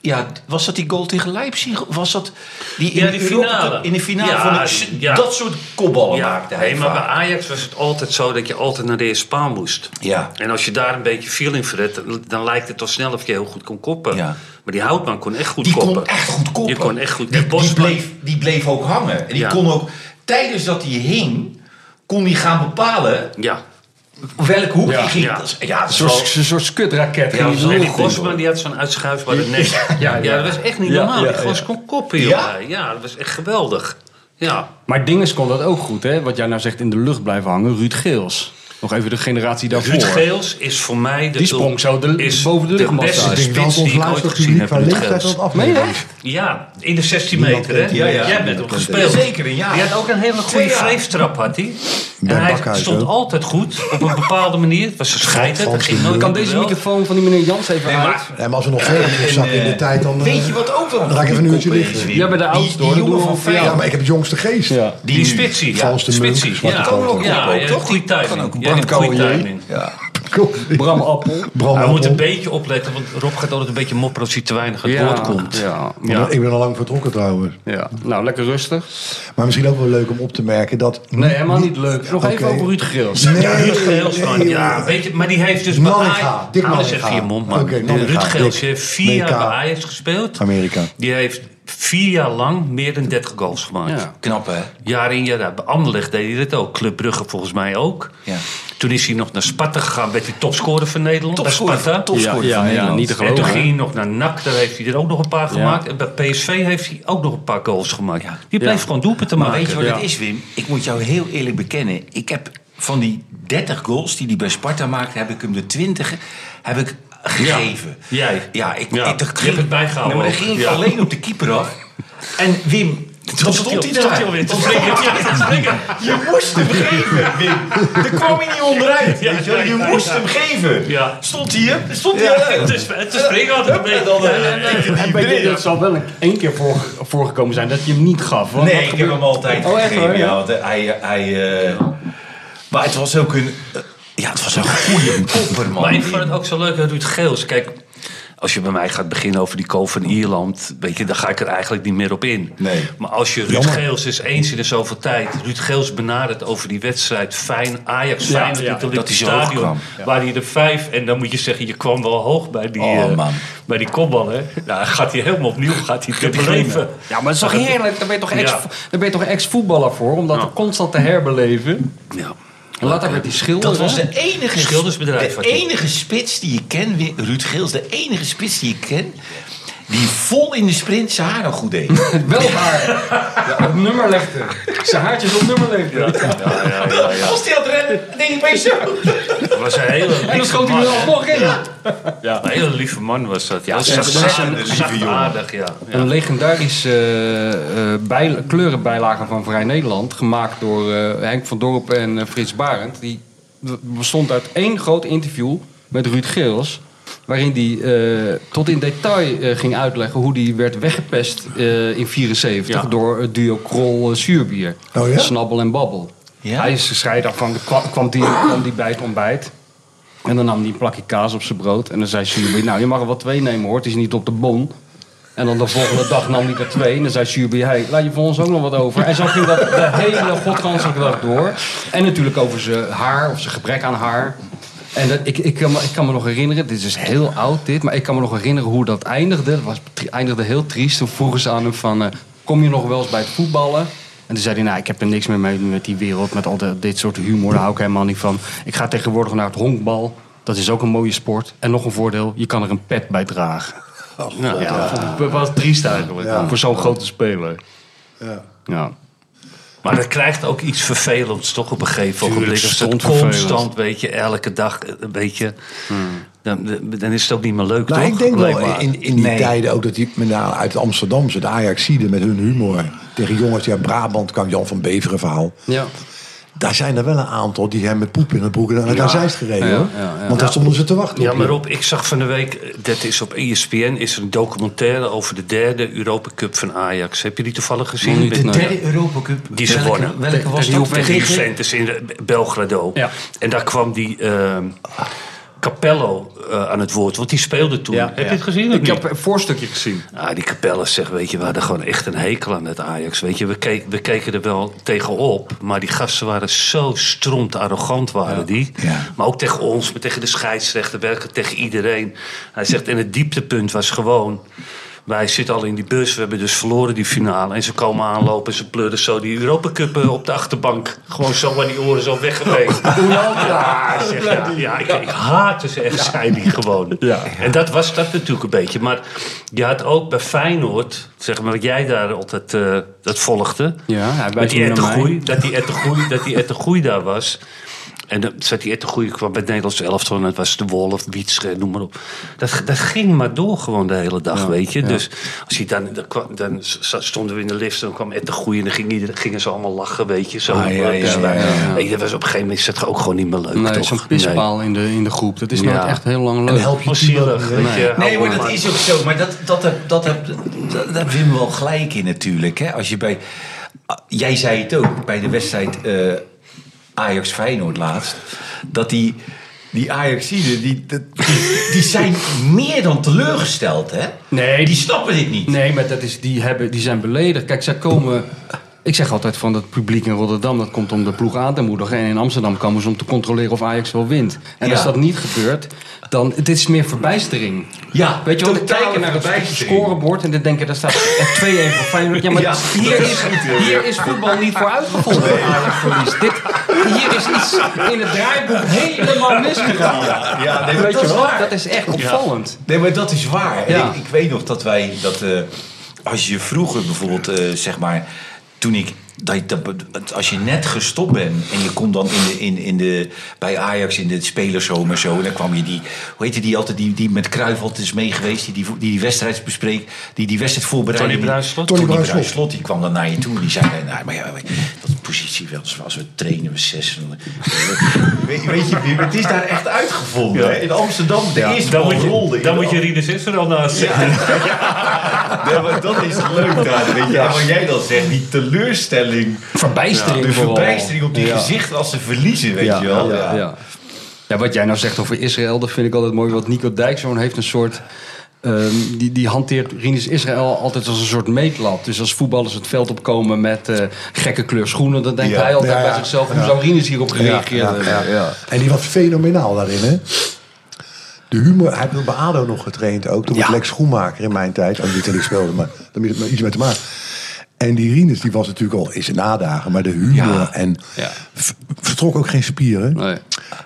Speaker 5: Ja, was dat die goal tegen Leipzig? Was dat die in,
Speaker 3: Ja,
Speaker 5: de,
Speaker 3: die
Speaker 5: Europa
Speaker 3: finale.
Speaker 5: Cup- in de finale?
Speaker 3: Ja,
Speaker 5: van de,
Speaker 3: ja.
Speaker 5: Dat soort kopballen
Speaker 3: Ja,
Speaker 5: maakte hij
Speaker 3: hey, maar bij
Speaker 5: vaak.
Speaker 3: Ajax was het altijd zo dat je altijd naar de eerste paal moest.
Speaker 5: Ja.
Speaker 3: En als je daar een beetje feeling voor hebt, dan- dan lijkt het al snel of je heel goed kon koppen.
Speaker 5: Ja.
Speaker 3: Maar die Houtman kon echt goed
Speaker 5: Die
Speaker 3: koppen.
Speaker 5: kon echt goed koppen.
Speaker 3: Die kon echt goed.
Speaker 5: Die,
Speaker 3: En
Speaker 5: die,
Speaker 3: Bosman-
Speaker 5: bleef, die bleef ook hangen. En die
Speaker 3: Ja.
Speaker 5: kon ook... Tijdens dat hij hing, kon hij gaan bepalen
Speaker 3: Ja.
Speaker 5: welk hoek
Speaker 2: Ja.
Speaker 5: hij ging.
Speaker 3: Ja.
Speaker 5: Dat is- Ja, dat is
Speaker 2: Zo'n
Speaker 5: wel-
Speaker 2: soort, soort skutraket.
Speaker 5: Ja,
Speaker 2: ging die
Speaker 5: zo-
Speaker 2: de
Speaker 3: En
Speaker 2: lucht
Speaker 3: die
Speaker 2: in.
Speaker 3: Bosman die had zo'n uitschuifbare nek. Ja,
Speaker 2: ja.
Speaker 3: dat was echt niet
Speaker 2: Ja,
Speaker 3: normaal.
Speaker 2: ja,
Speaker 3: die gozer kon koppen, joh.
Speaker 5: Ja?
Speaker 3: Ja? dat was echt geweldig. Ja.
Speaker 2: Maar Dinges kon dat ook goed, hè? Wat jij nou zegt, in de lucht blijven hangen. Ruud Geels. Nog even de generatie daarvoor.
Speaker 3: Ruud Geels is voor mij de,
Speaker 2: Die sprong zo de-
Speaker 3: is
Speaker 2: boven de luchtmast
Speaker 3: beste
Speaker 2: uit. Ik
Speaker 4: Ik denk
Speaker 3: spits
Speaker 4: dat
Speaker 3: die
Speaker 4: ons
Speaker 3: ik ooit
Speaker 4: luistert
Speaker 3: gezien heb.
Speaker 4: publiek qua
Speaker 3: Ruud
Speaker 4: leeftijd
Speaker 3: Geels.
Speaker 4: dat afneemt.
Speaker 3: Ja, in de 16
Speaker 4: Niemand
Speaker 3: meter, hè?
Speaker 4: kent hem.
Speaker 5: Ja, ja.
Speaker 3: Jij bent hem gespeeld.
Speaker 5: Zeker, een jaar.
Speaker 3: Die had ook een hele
Speaker 5: Twee
Speaker 3: goede
Speaker 5: jaar.
Speaker 3: vreeftrap, had hij.
Speaker 4: Bij
Speaker 3: En hij
Speaker 4: Bakhuis
Speaker 3: stond
Speaker 4: ook.
Speaker 3: altijd goed, op een bepaalde manier. Het was een scheider, dat ging nooit
Speaker 2: Kan
Speaker 3: op de
Speaker 2: deze
Speaker 3: wel.
Speaker 2: microfoon van die meneer Jans even
Speaker 5: Nee,
Speaker 2: uit?
Speaker 5: maar-
Speaker 4: Ja, maar als we nog verder terugzakken in de tijd, dan... eh,
Speaker 5: Weet je wat ook wel een
Speaker 4: Dan ga ik even een
Speaker 5: goede
Speaker 4: uurtje
Speaker 5: kop is,
Speaker 4: liggen.
Speaker 5: Wim?
Speaker 2: Jij bent de
Speaker 5: Die-
Speaker 2: oudste,
Speaker 5: die
Speaker 2: hoor. Dat
Speaker 5: jongen
Speaker 2: doen we
Speaker 5: van
Speaker 2: voor
Speaker 5: Feyenoord.
Speaker 4: Ja, maar ik heb het jongste geest.
Speaker 2: Ja.
Speaker 3: Die, spitsie, ja.
Speaker 4: Frans de Munk,
Speaker 3: spitsie,
Speaker 4: Zwarte
Speaker 3: ja.
Speaker 4: Kool
Speaker 3: Ja,
Speaker 4: ook,
Speaker 3: ja,
Speaker 5: ook,
Speaker 3: ja,
Speaker 5: toch?
Speaker 3: goede
Speaker 5: Kan
Speaker 3: timing.
Speaker 5: ook een
Speaker 3: Ja, die heeft goede
Speaker 5: Branco,
Speaker 3: timing.
Speaker 2: Bram Appel.
Speaker 4: Bram,
Speaker 3: Hij moet
Speaker 4: Appel.
Speaker 3: een beetje opletten, want Rob gaat altijd een beetje mopperen als hij te weinig aan het woord komt.
Speaker 2: Ja,
Speaker 3: Ja.
Speaker 4: Ik ben al lang vertrokken trouwens.
Speaker 2: ja. Nou, lekker rustig.
Speaker 4: Maar misschien ook wel leuk om op te merken dat...
Speaker 2: Nee, helemaal niet leuk. Nog even
Speaker 4: Oké.
Speaker 2: over Ruud Geels.
Speaker 4: Nee,
Speaker 3: Ja, Ruud Geels
Speaker 4: nee,
Speaker 3: van,
Speaker 4: nee,
Speaker 3: ja, weet je, maar die heeft dus...
Speaker 4: Nanninga,
Speaker 3: bij Ajax-
Speaker 4: Dick
Speaker 3: Hou eens
Speaker 4: Nanninga.
Speaker 3: even je mond, man.
Speaker 4: Oké, Nanninga,
Speaker 3: Ruud Geels
Speaker 4: Dick.
Speaker 3: heeft vier jaar
Speaker 4: BK.
Speaker 3: bij Ajax gespeeld.
Speaker 4: Amerika.
Speaker 3: Die heeft vier jaar lang meer dan 30 goals gemaakt.
Speaker 2: Ja.
Speaker 5: Knap, hè?
Speaker 3: Jaar in, jaar uit. Bij Anderlecht deed hij dat ook. Club Brugge volgens mij ook.
Speaker 5: Ja.
Speaker 3: Toen is hij nog naar Sparta gegaan. Werd hij topscorer van Nederland. bij
Speaker 5: Topscorer,
Speaker 3: Sparta.
Speaker 5: topscorer
Speaker 2: Ja, ja,
Speaker 5: van
Speaker 2: ja,
Speaker 5: Nederland.
Speaker 2: niet te
Speaker 3: En toen
Speaker 2: Geloof, hè?
Speaker 3: ging hij nog naar NAC, daar heeft hij er ook nog een paar gemaakt. En bij PSV heeft hij ook nog een paar goals gemaakt. Die bleef gewoon doelpunten
Speaker 5: Maar
Speaker 3: maken.
Speaker 5: weet je wat
Speaker 2: Ja.
Speaker 5: het is, Wim? Ik moet jou heel eerlijk bekennen. Ik heb van die 30 goals die hij bij Sparta maakte, heb ik hem de 20 heb ik gegeven.
Speaker 3: Jij.
Speaker 5: Ja, ik,
Speaker 3: Ja,
Speaker 5: ik dat
Speaker 3: je hebt het bijgehouden
Speaker 5: Nee, maar
Speaker 3: ook.
Speaker 5: dan ging ik
Speaker 3: Ja.
Speaker 5: alleen op de keeper af. En Wim, toen stond hij daar.
Speaker 3: alweer te springen. Ja, te springen.
Speaker 5: Je moest hem geven, Wim. Daar kwam hij niet onderuit.
Speaker 3: Ja,
Speaker 5: weet je wel.
Speaker 3: ja,
Speaker 5: je
Speaker 3: ja,
Speaker 5: moest
Speaker 3: ja.
Speaker 5: hem geven.
Speaker 3: Ja.
Speaker 5: Stond hij hem? Stond hij
Speaker 3: Ja,
Speaker 5: hem?
Speaker 3: het is- het is springen altijd een beetje.
Speaker 5: dan, eh,
Speaker 3: Ja, ja, ja.
Speaker 5: tikte hij
Speaker 2: En
Speaker 5: hem
Speaker 2: bij
Speaker 5: erin.
Speaker 2: je, dat zal wel een- één keer voor, voorgekomen zijn dat je hem niet gaf. Want
Speaker 5: Nee,
Speaker 2: wat
Speaker 5: ik heb
Speaker 2: gebeurt-
Speaker 5: hem altijd
Speaker 2: Oh, echt
Speaker 5: gegeven.
Speaker 2: hoor,
Speaker 5: ja,
Speaker 2: ja.
Speaker 5: want hij, hij, eh, maar het was ook een... eh, ja, het was een goede kopper, man.
Speaker 3: Maar ik vond het ook zo leuk aan Ruud Geels. Kijk, Als je bij mij gaat beginnen over die kool van Ierland, weet je, dan ga ik er eigenlijk niet meer op in.
Speaker 5: Nee.
Speaker 3: Maar als je Ruud Geels is eens in de zoveel tijd, Ruud Geels benadert over die wedstrijd Fijn Ajax
Speaker 5: Ja,
Speaker 3: Fijn
Speaker 5: ja,
Speaker 3: het
Speaker 5: dat hij
Speaker 3: Olympisch
Speaker 5: zo hoog
Speaker 3: Stadion,
Speaker 5: kwam. Ja.
Speaker 3: waar hij er vijf en dan moet je zeggen je kwam wel hoog bij die
Speaker 5: Oh,
Speaker 3: eh,
Speaker 5: man.
Speaker 3: bij die kopbal hè. Nou, gaat hij helemaal opnieuw, gaat hij het beleven.
Speaker 2: Ja, maar het is toch heerlijk? Daar ben je toch ex,
Speaker 3: Ja.
Speaker 2: daar ben je toch ex-voetballer voor? Om dat
Speaker 3: Ja.
Speaker 2: constant te herbeleven.
Speaker 3: Ja.
Speaker 2: En later werd die schilder.
Speaker 5: Dat was
Speaker 2: hè?
Speaker 5: de enige,
Speaker 3: Schildersbedrijf
Speaker 5: de
Speaker 3: had hij.
Speaker 5: enige spits die je ken, Wi- Ruud Geels, de enige spits die ik ken, die vol in de sprint zijn haar nog goed deed.
Speaker 2: Wel haar. Ja, op nummer legde. Zijn haartjes op nummer legde.
Speaker 3: Ja, ja, ja, ja.
Speaker 5: Als die had rennen, deed hij bij zo.
Speaker 3: Dat was een hele lieve
Speaker 2: En dan schoot hij
Speaker 3: man,
Speaker 2: er nog
Speaker 3: hè.
Speaker 2: nog in.
Speaker 3: Een hele lieve man was dat. Ja,
Speaker 5: ze-
Speaker 3: zacht-
Speaker 5: ze- een lieve
Speaker 3: zacht-
Speaker 5: jongen.
Speaker 3: aardig, ja. ja.
Speaker 2: Een legendarische eh, eh, bij, kleurenbijlage van Vrij Nederland. Gemaakt door eh, Henk van Dorp en eh, Frits Barend. Die bestond uit één groot interview met Ruud Geels. Waarin hij tot in detail eh, ging uitleggen hoe hij werd weggepest eh, in 74
Speaker 3: Ja.
Speaker 2: door het duo Krol-Zuurbier.
Speaker 4: Oh ja?
Speaker 2: Snabbel en babbel.
Speaker 5: Ja?
Speaker 2: Hij is gescheiden van, kwam, kwam, die, kwam die bij het ontbijt. En dan nam hij een plakje kaas op zijn brood. En dan zei Zuurbier, nou je mag er wel twee nemen hoor, het is niet op de bon. En dan de volgende dag nam hij er twee. En dan zei Zuurbier, hey, laat je voor ons ook nog wat over. En zo ging dat de hele godganse dag door. En natuurlijk over zijn haar, of zijn gebrek aan haar. En dat, ik, ik, kan me, ik kan me nog herinneren, dit is heel oud dit, maar ik kan me nog herinneren hoe dat eindigde. Dat was, tri- eindigde heel triest. Toen vroegen ze aan hem van, eh, kom je nog wel eens bij het voetballen? En toen zei hij, nou, ik heb er niks meer mee met die wereld, met al de- dit soort humor, daar hou ik helemaal niet van. Ik ga tegenwoordig naar het honkbal, dat is ook een mooie sport. En nog een voordeel, je kan er een pet bij dragen. Nou, ja, dat vond ik wel triest eigenlijk,
Speaker 4: Ja.
Speaker 2: voor zo'n grote speler. Ja.
Speaker 3: Maar dat krijgt ook iets vervelends toch op een gegeven
Speaker 2: Tuurlijk,
Speaker 3: moment. Als het
Speaker 2: stond
Speaker 3: constant,
Speaker 2: vervelend.
Speaker 3: weet je, elke dag, eh, weet je. Dan, dan is het ook niet meer leuk,
Speaker 4: Nou,
Speaker 3: toch?
Speaker 4: ik denk wel
Speaker 3: Blijkbaar.
Speaker 4: in, in die
Speaker 3: Nee.
Speaker 4: tijden ook dat die met name uit Amsterdam, de Ajaxiden met hun humor tegen jongens die uit Brabant kwam, Jan van Beveren verhaal.
Speaker 2: Ja.
Speaker 4: Daar zijn er wel een aantal die hem met poep in de broek en naar Zeist gereden.
Speaker 2: Ja,
Speaker 4: hoor.
Speaker 2: ja, ja.
Speaker 4: Want daar stonden ze te wachten.
Speaker 3: Ja,
Speaker 4: op
Speaker 3: maar
Speaker 4: je.
Speaker 3: op, ik zag van de week, eh, dat is op ESPN, is er een documentaire over de derde Europa Cup van Ajax. Heb je die toevallig gezien?
Speaker 2: Nog niet, nee.
Speaker 5: Derde Europa Cup.
Speaker 3: Die ze
Speaker 5: welke,
Speaker 3: wonnen.
Speaker 5: Welke was
Speaker 2: Tegen
Speaker 5: dat?
Speaker 3: Tegen
Speaker 5: Tegen-
Speaker 3: Juventus in de- Belgrado.
Speaker 2: Ja.
Speaker 3: En daar kwam die eh, Capello eh, aan het woord, want die speelde toen.
Speaker 2: Ja,
Speaker 3: heb
Speaker 2: ja.
Speaker 3: je het gezien? of
Speaker 2: Ik
Speaker 3: niet?
Speaker 2: heb een voorstukje gezien.
Speaker 3: Ah, die Capelle zegt, weet je, we hadden gewoon echt een hekel aan het Ajax. Weet je, we, keek- we keken er wel tegenop, maar die gasten waren zo stront arrogant waren die.
Speaker 4: Ja.
Speaker 3: Maar ook tegen ons, maar tegen de scheidsrechter, werken tegen iedereen. Hij zegt, en het dieptepunt was gewoon... Wij zitten al in die bus, we hebben dus verloren die finale. En ze komen aanlopen en ze pleuren zo die Europa Cup eh, op de achterbank. Gewoon zo aan die oren zo weggeweekt. Ja, zeg, ja, ja ik, ik haatte ze echt, zei die gewoon. En dat was dat natuurlijk een beetje. Maar je had ook bij Feyenoord, zeg maar, wat jij daar altijd eh, dat volgde.
Speaker 2: Ja, hij
Speaker 3: met
Speaker 2: wijst
Speaker 3: die
Speaker 2: nu naar
Speaker 3: Ettengoei,
Speaker 2: mij.
Speaker 3: dat die Ettengoei, dat die Ettengoei daar was. En dan zat die Ettengoei, kwam bij het Nederlands elftal en dat was de Wolf, Wietsche, noem maar op. Dat, dat ging maar door gewoon de hele dag, weet je. Dus als je dan, dan, kwam- dan s- stonden we in de lift en dan kwam Ettengoei en dan ging iedereen, gingen ze allemaal lachen, weet je. Zo,
Speaker 4: Ah, ja, ja,
Speaker 3: Dus
Speaker 4: ja,
Speaker 3: wij-
Speaker 4: ja, ja.
Speaker 3: Weet je, dat was op een gegeven moment is dat ook gewoon niet meer leuk,
Speaker 2: Nee,
Speaker 3: toch?
Speaker 2: zo'n pispaal in, de, in de groep. Dat is
Speaker 3: Ja.
Speaker 2: nooit echt heel lang
Speaker 4: En
Speaker 2: leuk.
Speaker 4: help je
Speaker 3: Oh,
Speaker 4: team ook
Speaker 3: zielig,
Speaker 4: niet.
Speaker 3: weet je.
Speaker 5: Nee, maar
Speaker 3: Oude
Speaker 5: dat
Speaker 3: man.
Speaker 5: is ook zo. Maar dat, dat, heb- dat, heb- dat, daar heb Wim wel gelijk in natuurlijk. Hè? Als je bij, ah, jij zei het ook bij de wedstrijd eh, Ajax-Feyenoord laatst. Dat die, die Ajaxiden, die, dat- die, die zijn meer dan teleurgesteld. Hè?
Speaker 2: Nee,
Speaker 5: Die snappen dit niet.
Speaker 2: Nee, maar dat is, die, hebben, die zijn beledigd. Kijk, zij komen. Ik zeg altijd van het publiek in Rotterdam dat komt om de ploeg aan te moedigen. En in Amsterdam komen ze om te controleren of Ajax wel wint. En als
Speaker 5: Ja.
Speaker 2: dat niet gebeurt, dan. Dit is meer verbijstering.
Speaker 5: Ja,
Speaker 2: Weet je wel, we
Speaker 5: totale
Speaker 2: kijken naar het
Speaker 5: verbijstering.
Speaker 2: scorebord en dan denken daar staat echt 2-1 voor Feyenoord. Ja, maar
Speaker 5: Ja,
Speaker 2: hier, is,
Speaker 5: eh,
Speaker 2: hier is voetbal niet voor uitgevonden. Ajax verliest. Dit, hier is iets in het draaiboek helemaal misgegaan.
Speaker 5: Ja, nee, maar
Speaker 2: Weet
Speaker 5: dat
Speaker 2: je
Speaker 5: is
Speaker 2: wel,
Speaker 5: waar.
Speaker 2: dat is echt opvallend.
Speaker 5: Nee, maar dat is waar. En
Speaker 2: Ja.
Speaker 5: Ik, ik weet nog dat wij dat eh, als je vroeger bijvoorbeeld eh, zeg maar toen ik dat, je- dat- als je net gestopt bent en je komt dan in de, in, in de, bij Ajax in de spelershome en zo, en dan kwam je die, hoe heette die altijd, die, die met Cruijff altijd is mee geweest, die die, die, die wedstrijd bespreekt, die die wedstrijd voorbereidde.
Speaker 3: Tony
Speaker 5: die-
Speaker 3: Bruinslot?
Speaker 5: Tony
Speaker 4: Tony Bruinslot.
Speaker 5: Bruinslot, die kwam dan naar je toe en die zei, nou, maar ja, dat is positie wel, als we trainen, we zes. en dan- weet, weet je, Wim, het is daar echt uitgevonden. hè? In Amsterdam, de eerste
Speaker 3: Dan
Speaker 5: bal
Speaker 3: moet
Speaker 5: rolde
Speaker 3: je,
Speaker 5: in
Speaker 3: dan
Speaker 5: de
Speaker 3: moet je Rinus Israël naast zetten.
Speaker 5: ja, maar dat is het leuk daar, weet je. En wat jij dan zegt, die teleurstelling,
Speaker 2: Verbijstering
Speaker 5: de
Speaker 2: vooral.
Speaker 5: verbijstering op die
Speaker 2: Ja.
Speaker 5: gezicht als ze verliezen, weet je wel.
Speaker 2: Ja. Ja, wat jij nou zegt over Israël, dat vind ik altijd mooi. Want Nico Dijkshoorn heeft een soort ehm, die, die hanteert Rinus Israël altijd als een soort meetlab. Dus als voetballers het veld opkomen met eh, gekke kleur schoenen, dan denkt
Speaker 4: Ja.
Speaker 2: hij altijd
Speaker 4: Ja, ja.
Speaker 2: bij zichzelf: hoe
Speaker 4: Ja.
Speaker 2: zou Rinus hierop gereageerd hebben?
Speaker 4: ja, ja. En die was fenomenaal daarin, hè? De humor, hij heeft bij ADO nog getraind ook. Toen was Lex Schoenmaker in mijn tijd. Oh, niet dat ik speelde, maar daar heeft het maar iets mee te maken. En die Rinus, die was natuurlijk al in zijn nadagen. Maar de humor
Speaker 2: Ja.
Speaker 4: en
Speaker 2: Ja.
Speaker 4: v- vertrok ook geen spieren.
Speaker 2: Nee.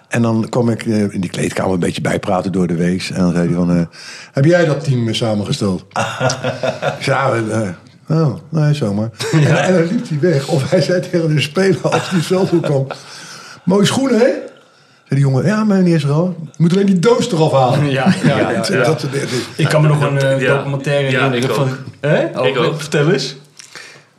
Speaker 4: En dan kwam ik eh, in die kleedkamer een beetje bijpraten door de week. En dan zei hij van, eh, heb jij dat team eh, samengesteld? Ik zei, "Ah, eh, oh, nee, zomaar. En, en dan liep hij weg. Of hij zei tegen de speler als die veld toe kwam. Mooie schoenen, hè? Zei die jongen, ja, meneer Israël. Je moet alleen die doos eraf halen.
Speaker 2: Ja, ja, ja.
Speaker 4: Dat- dat- dat-
Speaker 2: Ik kan me nog een eh,
Speaker 3: Ja.
Speaker 2: documentaire
Speaker 3: Ja,
Speaker 2: herinneren.
Speaker 3: ik
Speaker 2: van,
Speaker 3: ook.
Speaker 2: hè? Oh,
Speaker 3: Ik ook.
Speaker 2: Vertel eens.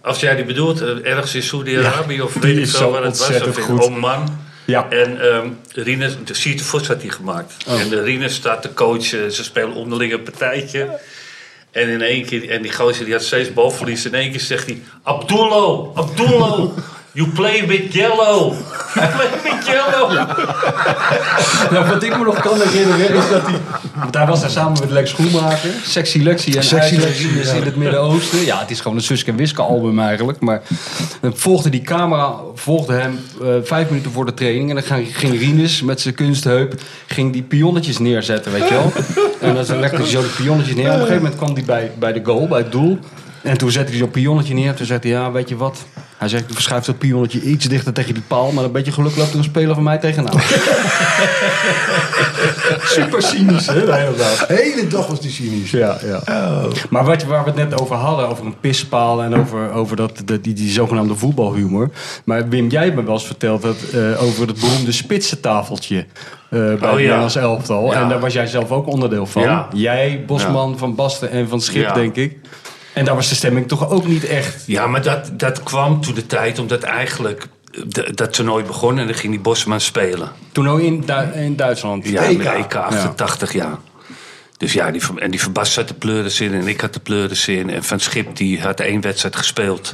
Speaker 3: Als jij die bedoelt, eh, ergens in Saudi-Arabië of
Speaker 2: die
Speaker 3: weet ik
Speaker 2: is
Speaker 3: veel
Speaker 2: zo
Speaker 3: waar het was.
Speaker 2: ontzettend
Speaker 3: Of in
Speaker 2: goed.
Speaker 3: Oman.
Speaker 2: Ja. Oh.
Speaker 3: En ehm Rinus, de Siete Vos had die gemaakt. En de Rinus staat te coachen. Ze spelen onderling een partijtje. En in één keer, en die gozer die had steeds balverlies. In één keer zegt hij, Abdullo, Abdullo, you play with yellow. You play with yellow.
Speaker 2: Nou, wat ik me nog kan herinneren is dat hij... Want hij was daar samen met Lex Schoenmaker. Sexy Lexie en
Speaker 4: Sexy
Speaker 2: Sexy
Speaker 4: Lexie,
Speaker 2: is in het Midden-Oosten. Ja, het is gewoon een Suske en Wiske album eigenlijk. Maar dan volgde die camera volgde hem eh, vijf minuten voor de training. En dan ging- ging Rinus met zijn kunstheup ging die pionnetjes neerzetten, weet je wel. En dan legde hij zo de pionnetjes neer. Op een gegeven moment kwam hij bij, bij de goal, bij het doel. En toen zette hij zo'n pionnetje neer. Toen zegt hij, ja, weet je wat... Hij zegt, ik verschuif dat pionnetje iets dichter tegen die paal... maar een beetje geluk loopt er een speler van mij tegenaan. Super cynisch, hè?
Speaker 4: De hele dag was die cynisch.
Speaker 2: Ja, ja. Oh. Maar wat, waar we het net over hadden, over een pispaal en over, over dat, dat, die, die zogenaamde voetbalhumor. Maar Wim, jij hebt me wel eens verteld dat, eh, over het beroemde spitsentafeltje eh, bij het
Speaker 3: Oh, ja.
Speaker 2: Nederlands elftal.
Speaker 3: Ja.
Speaker 2: En daar was jij zelf ook onderdeel van.
Speaker 3: Ja.
Speaker 2: Jij, Bosman, Van Basten en Van Schip,
Speaker 3: Ja.
Speaker 2: denk ik. En daar was de stemming toch ook niet echt.
Speaker 3: Ja, maar dat, dat kwam toen de tijd omdat eigenlijk eh, de- dat toernooi begon en dan ging die Bosman spelen.
Speaker 2: Toen ook in, Du- in Duitsland.
Speaker 3: Ja,
Speaker 4: EK.
Speaker 3: met EK 88 jaar. Dus ja, die, Van- en die Verbas had de pleuris in en ik had de pleuris in. En Van Schip die had één wedstrijd gespeeld.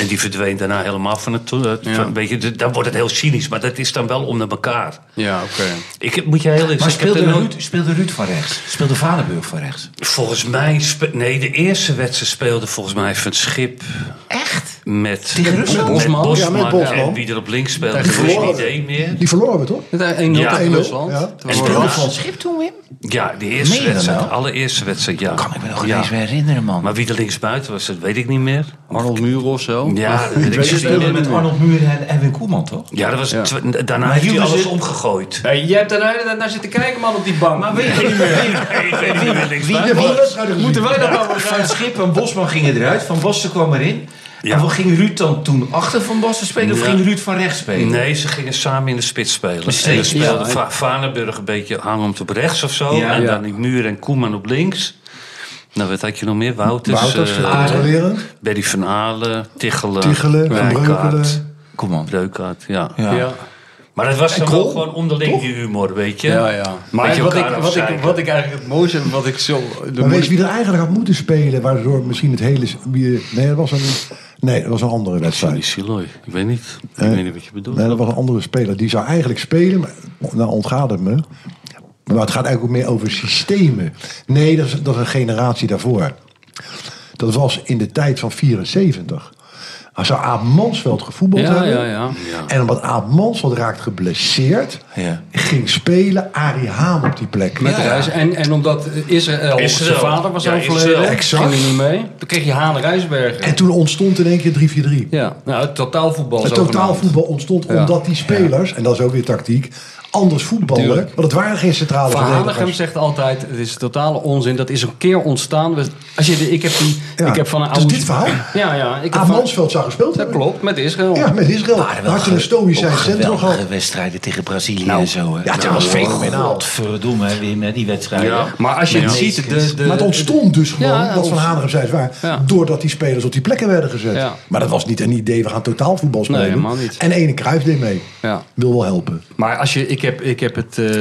Speaker 3: En die verdween daarna helemaal van het toernooi. Van, weet je, d- dan wordt het heel cynisch, maar dat is dan wel onder elkaar.
Speaker 2: Ja, oké.
Speaker 3: Ik, heb- moet je heel eerlijk
Speaker 5: Maar
Speaker 3: zeggen, ik heb
Speaker 5: speelde
Speaker 3: er nooit-
Speaker 5: Ruud, speelde Ruud van rechts? Speelde Vaneburg van rechts?
Speaker 3: Volgens mij... spe- nee, de eerste wedstrijd speelde volgens mij Van Schip... Echt? Met,
Speaker 5: Tegen
Speaker 3: met
Speaker 5: Rusland?
Speaker 3: Bosman.
Speaker 4: Ja, met Bosman.
Speaker 3: En wie er op links speelde,
Speaker 2: Daar
Speaker 3: geen
Speaker 4: verloren.
Speaker 3: idee meer.
Speaker 4: Die verloren we, toch?
Speaker 2: Met een 1-0
Speaker 3: Ja.
Speaker 2: tegen
Speaker 4: 1-0,
Speaker 2: Rusland.
Speaker 4: ja.
Speaker 2: Terwijl-
Speaker 3: En daarna-
Speaker 5: Schip toen, Wim?
Speaker 3: Ja, de
Speaker 5: Meen
Speaker 3: eerste
Speaker 5: je dat
Speaker 3: wedstrijd. De
Speaker 5: nou?
Speaker 3: allereerste wedstrijd, ja.
Speaker 5: Kan ik me nog
Speaker 3: ja.
Speaker 5: ineens weer herinneren, man.
Speaker 3: Maar wie er linksbuiten was, dat weet ik niet meer.
Speaker 2: Arnold Muur of zo.
Speaker 3: Ja, dat weet ik
Speaker 5: Ze
Speaker 3: niet meer.
Speaker 5: speelden met Arnold Muur en Edwin Koeman, toch?
Speaker 3: Ja, dat was
Speaker 2: Ja.
Speaker 3: tw- daarna heeft hij
Speaker 5: Jules
Speaker 3: alles
Speaker 5: is-
Speaker 3: omgegooid.
Speaker 2: Hey, jij hebt daar de hele tijd naar zitten kijken, man, op die bank. Maar weet je niet
Speaker 3: Nee, ik weet niet meer
Speaker 4: Ja,
Speaker 3: linksbuiten.
Speaker 4: van de wedstrijden gezien.
Speaker 2: Moeten wij dat nou
Speaker 5: Van Schip en Bosman gingen eruit. Van Basten kwam erin.
Speaker 3: Ja.
Speaker 5: En wat ging Ruud dan toen achter Van Basten spelen? Of
Speaker 3: Ja.
Speaker 5: ging Ruud van rechts spelen?
Speaker 3: Nee, ze gingen samen in de spits spelen.
Speaker 5: Precies,
Speaker 3: En dan speelde
Speaker 2: ja.
Speaker 3: Va- Vaneburg een beetje hangend op rechts of zo.
Speaker 5: Ja.
Speaker 3: en
Speaker 2: Ja.
Speaker 3: dan die Muur en Koeman op links. Nou, wat had je nog meer? Wouters,
Speaker 4: Wouters,
Speaker 3: eh,
Speaker 4: controleren.
Speaker 3: Berry van Halen, Tichelen,
Speaker 4: Tichelen, Van
Speaker 3: Rijkaard.
Speaker 4: Breukelen.
Speaker 5: Kom aan.
Speaker 3: Breukert, ja.
Speaker 5: Ja.
Speaker 2: Ja.
Speaker 3: Maar dat was dan
Speaker 4: Krol,
Speaker 3: wel gewoon onderling die humor, weet je?
Speaker 2: Ja, ja.
Speaker 3: Weet
Speaker 2: Maar
Speaker 3: je
Speaker 2: wat ik,
Speaker 3: elkaar
Speaker 2: wat, ik,
Speaker 3: afzeiken.
Speaker 2: wat ik eigenlijk het mooiste en wat ik zo... de
Speaker 4: Maar weet je
Speaker 2: mooiste-
Speaker 4: wie er eigenlijk had moeten spelen, waardoor misschien het hele... wie- Nee, dat was een, nee, dat was een andere wedstrijd.
Speaker 3: Johnny Siloy, ik weet niet. Ik
Speaker 4: Eh?
Speaker 3: weet niet wat je bedoelt.
Speaker 4: Nee, dat was een andere speler. Die zou eigenlijk spelen, maar nou ontgaat het me. Maar het gaat eigenlijk ook meer over systemen. Nee, dat is, dat is een generatie daarvoor. Dat was in de tijd van 74. Hij zou Aad Mansveld gevoetbald
Speaker 2: Ja,
Speaker 4: hebben.
Speaker 2: ja, ja.
Speaker 4: En omdat Aad Mansveld raakt geblesseerd...
Speaker 5: Ja.
Speaker 4: ging spelen Arie Haan op die plek.
Speaker 2: Met de reis. En, en omdat Israël,
Speaker 3: Israël.
Speaker 2: zijn vader was
Speaker 3: Ja, Israël.
Speaker 2: overleden,
Speaker 4: Exact.
Speaker 2: ging hij niet mee. Toen kreeg je Haan Rijsbergen.
Speaker 4: En toen ontstond in één keer 3-4-3.
Speaker 2: ja, nou, het totaalvoetbal.
Speaker 4: Het
Speaker 2: zogenaamd.
Speaker 4: totaalvoetbal ontstond
Speaker 2: Ja.
Speaker 4: omdat die spelers... en dat is ook weer tactiek... anders voetballen.
Speaker 2: Tuurlijk.
Speaker 4: Want het waren geen centrale
Speaker 2: Van
Speaker 4: verdedigers.
Speaker 2: Hanegem zegt altijd, het is totale onzin. Dat is een keer ontstaan. We- Als je de, ik heb die,
Speaker 4: Ja.
Speaker 2: ik heb van een
Speaker 4: Dus
Speaker 2: oude...
Speaker 4: dit verhaal?
Speaker 2: Ja, ja. Ik heb
Speaker 4: Aad
Speaker 2: van-
Speaker 4: Mansveld zou gespeeld
Speaker 2: Dat
Speaker 4: hebben.
Speaker 2: klopt, met Israël.
Speaker 4: Ja, met Israël.
Speaker 5: Waren
Speaker 4: Dan
Speaker 5: wel
Speaker 4: had je een
Speaker 5: ge-
Speaker 4: stoïsch
Speaker 5: ook
Speaker 4: centrum
Speaker 5: geweldige
Speaker 4: gehad.
Speaker 5: wedstrijden tegen Brazilië en zo. Hè.
Speaker 4: ja, dat was fenomenaal.
Speaker 5: Godverdomme, hè, Wim, hè, die wedstrijden.
Speaker 3: Ja.
Speaker 2: Maar als je het
Speaker 5: Ja.
Speaker 2: ziet, de, de,
Speaker 4: Maar het ontstond dus gewoon,
Speaker 2: Ja, ja,
Speaker 4: wat Van Hanegem zei, is waar.
Speaker 2: Ja.
Speaker 4: Doordat die spelers op die plekken werden gezet.
Speaker 2: Ja.
Speaker 4: Maar dat was niet een idee, we gaan totaal voetbal spelen.
Speaker 2: helemaal niet.
Speaker 4: En ene Kruijf deed mee.
Speaker 2: Ja.
Speaker 4: Wil wel helpen.
Speaker 2: Maar als je, ik heb, ik heb het, eh,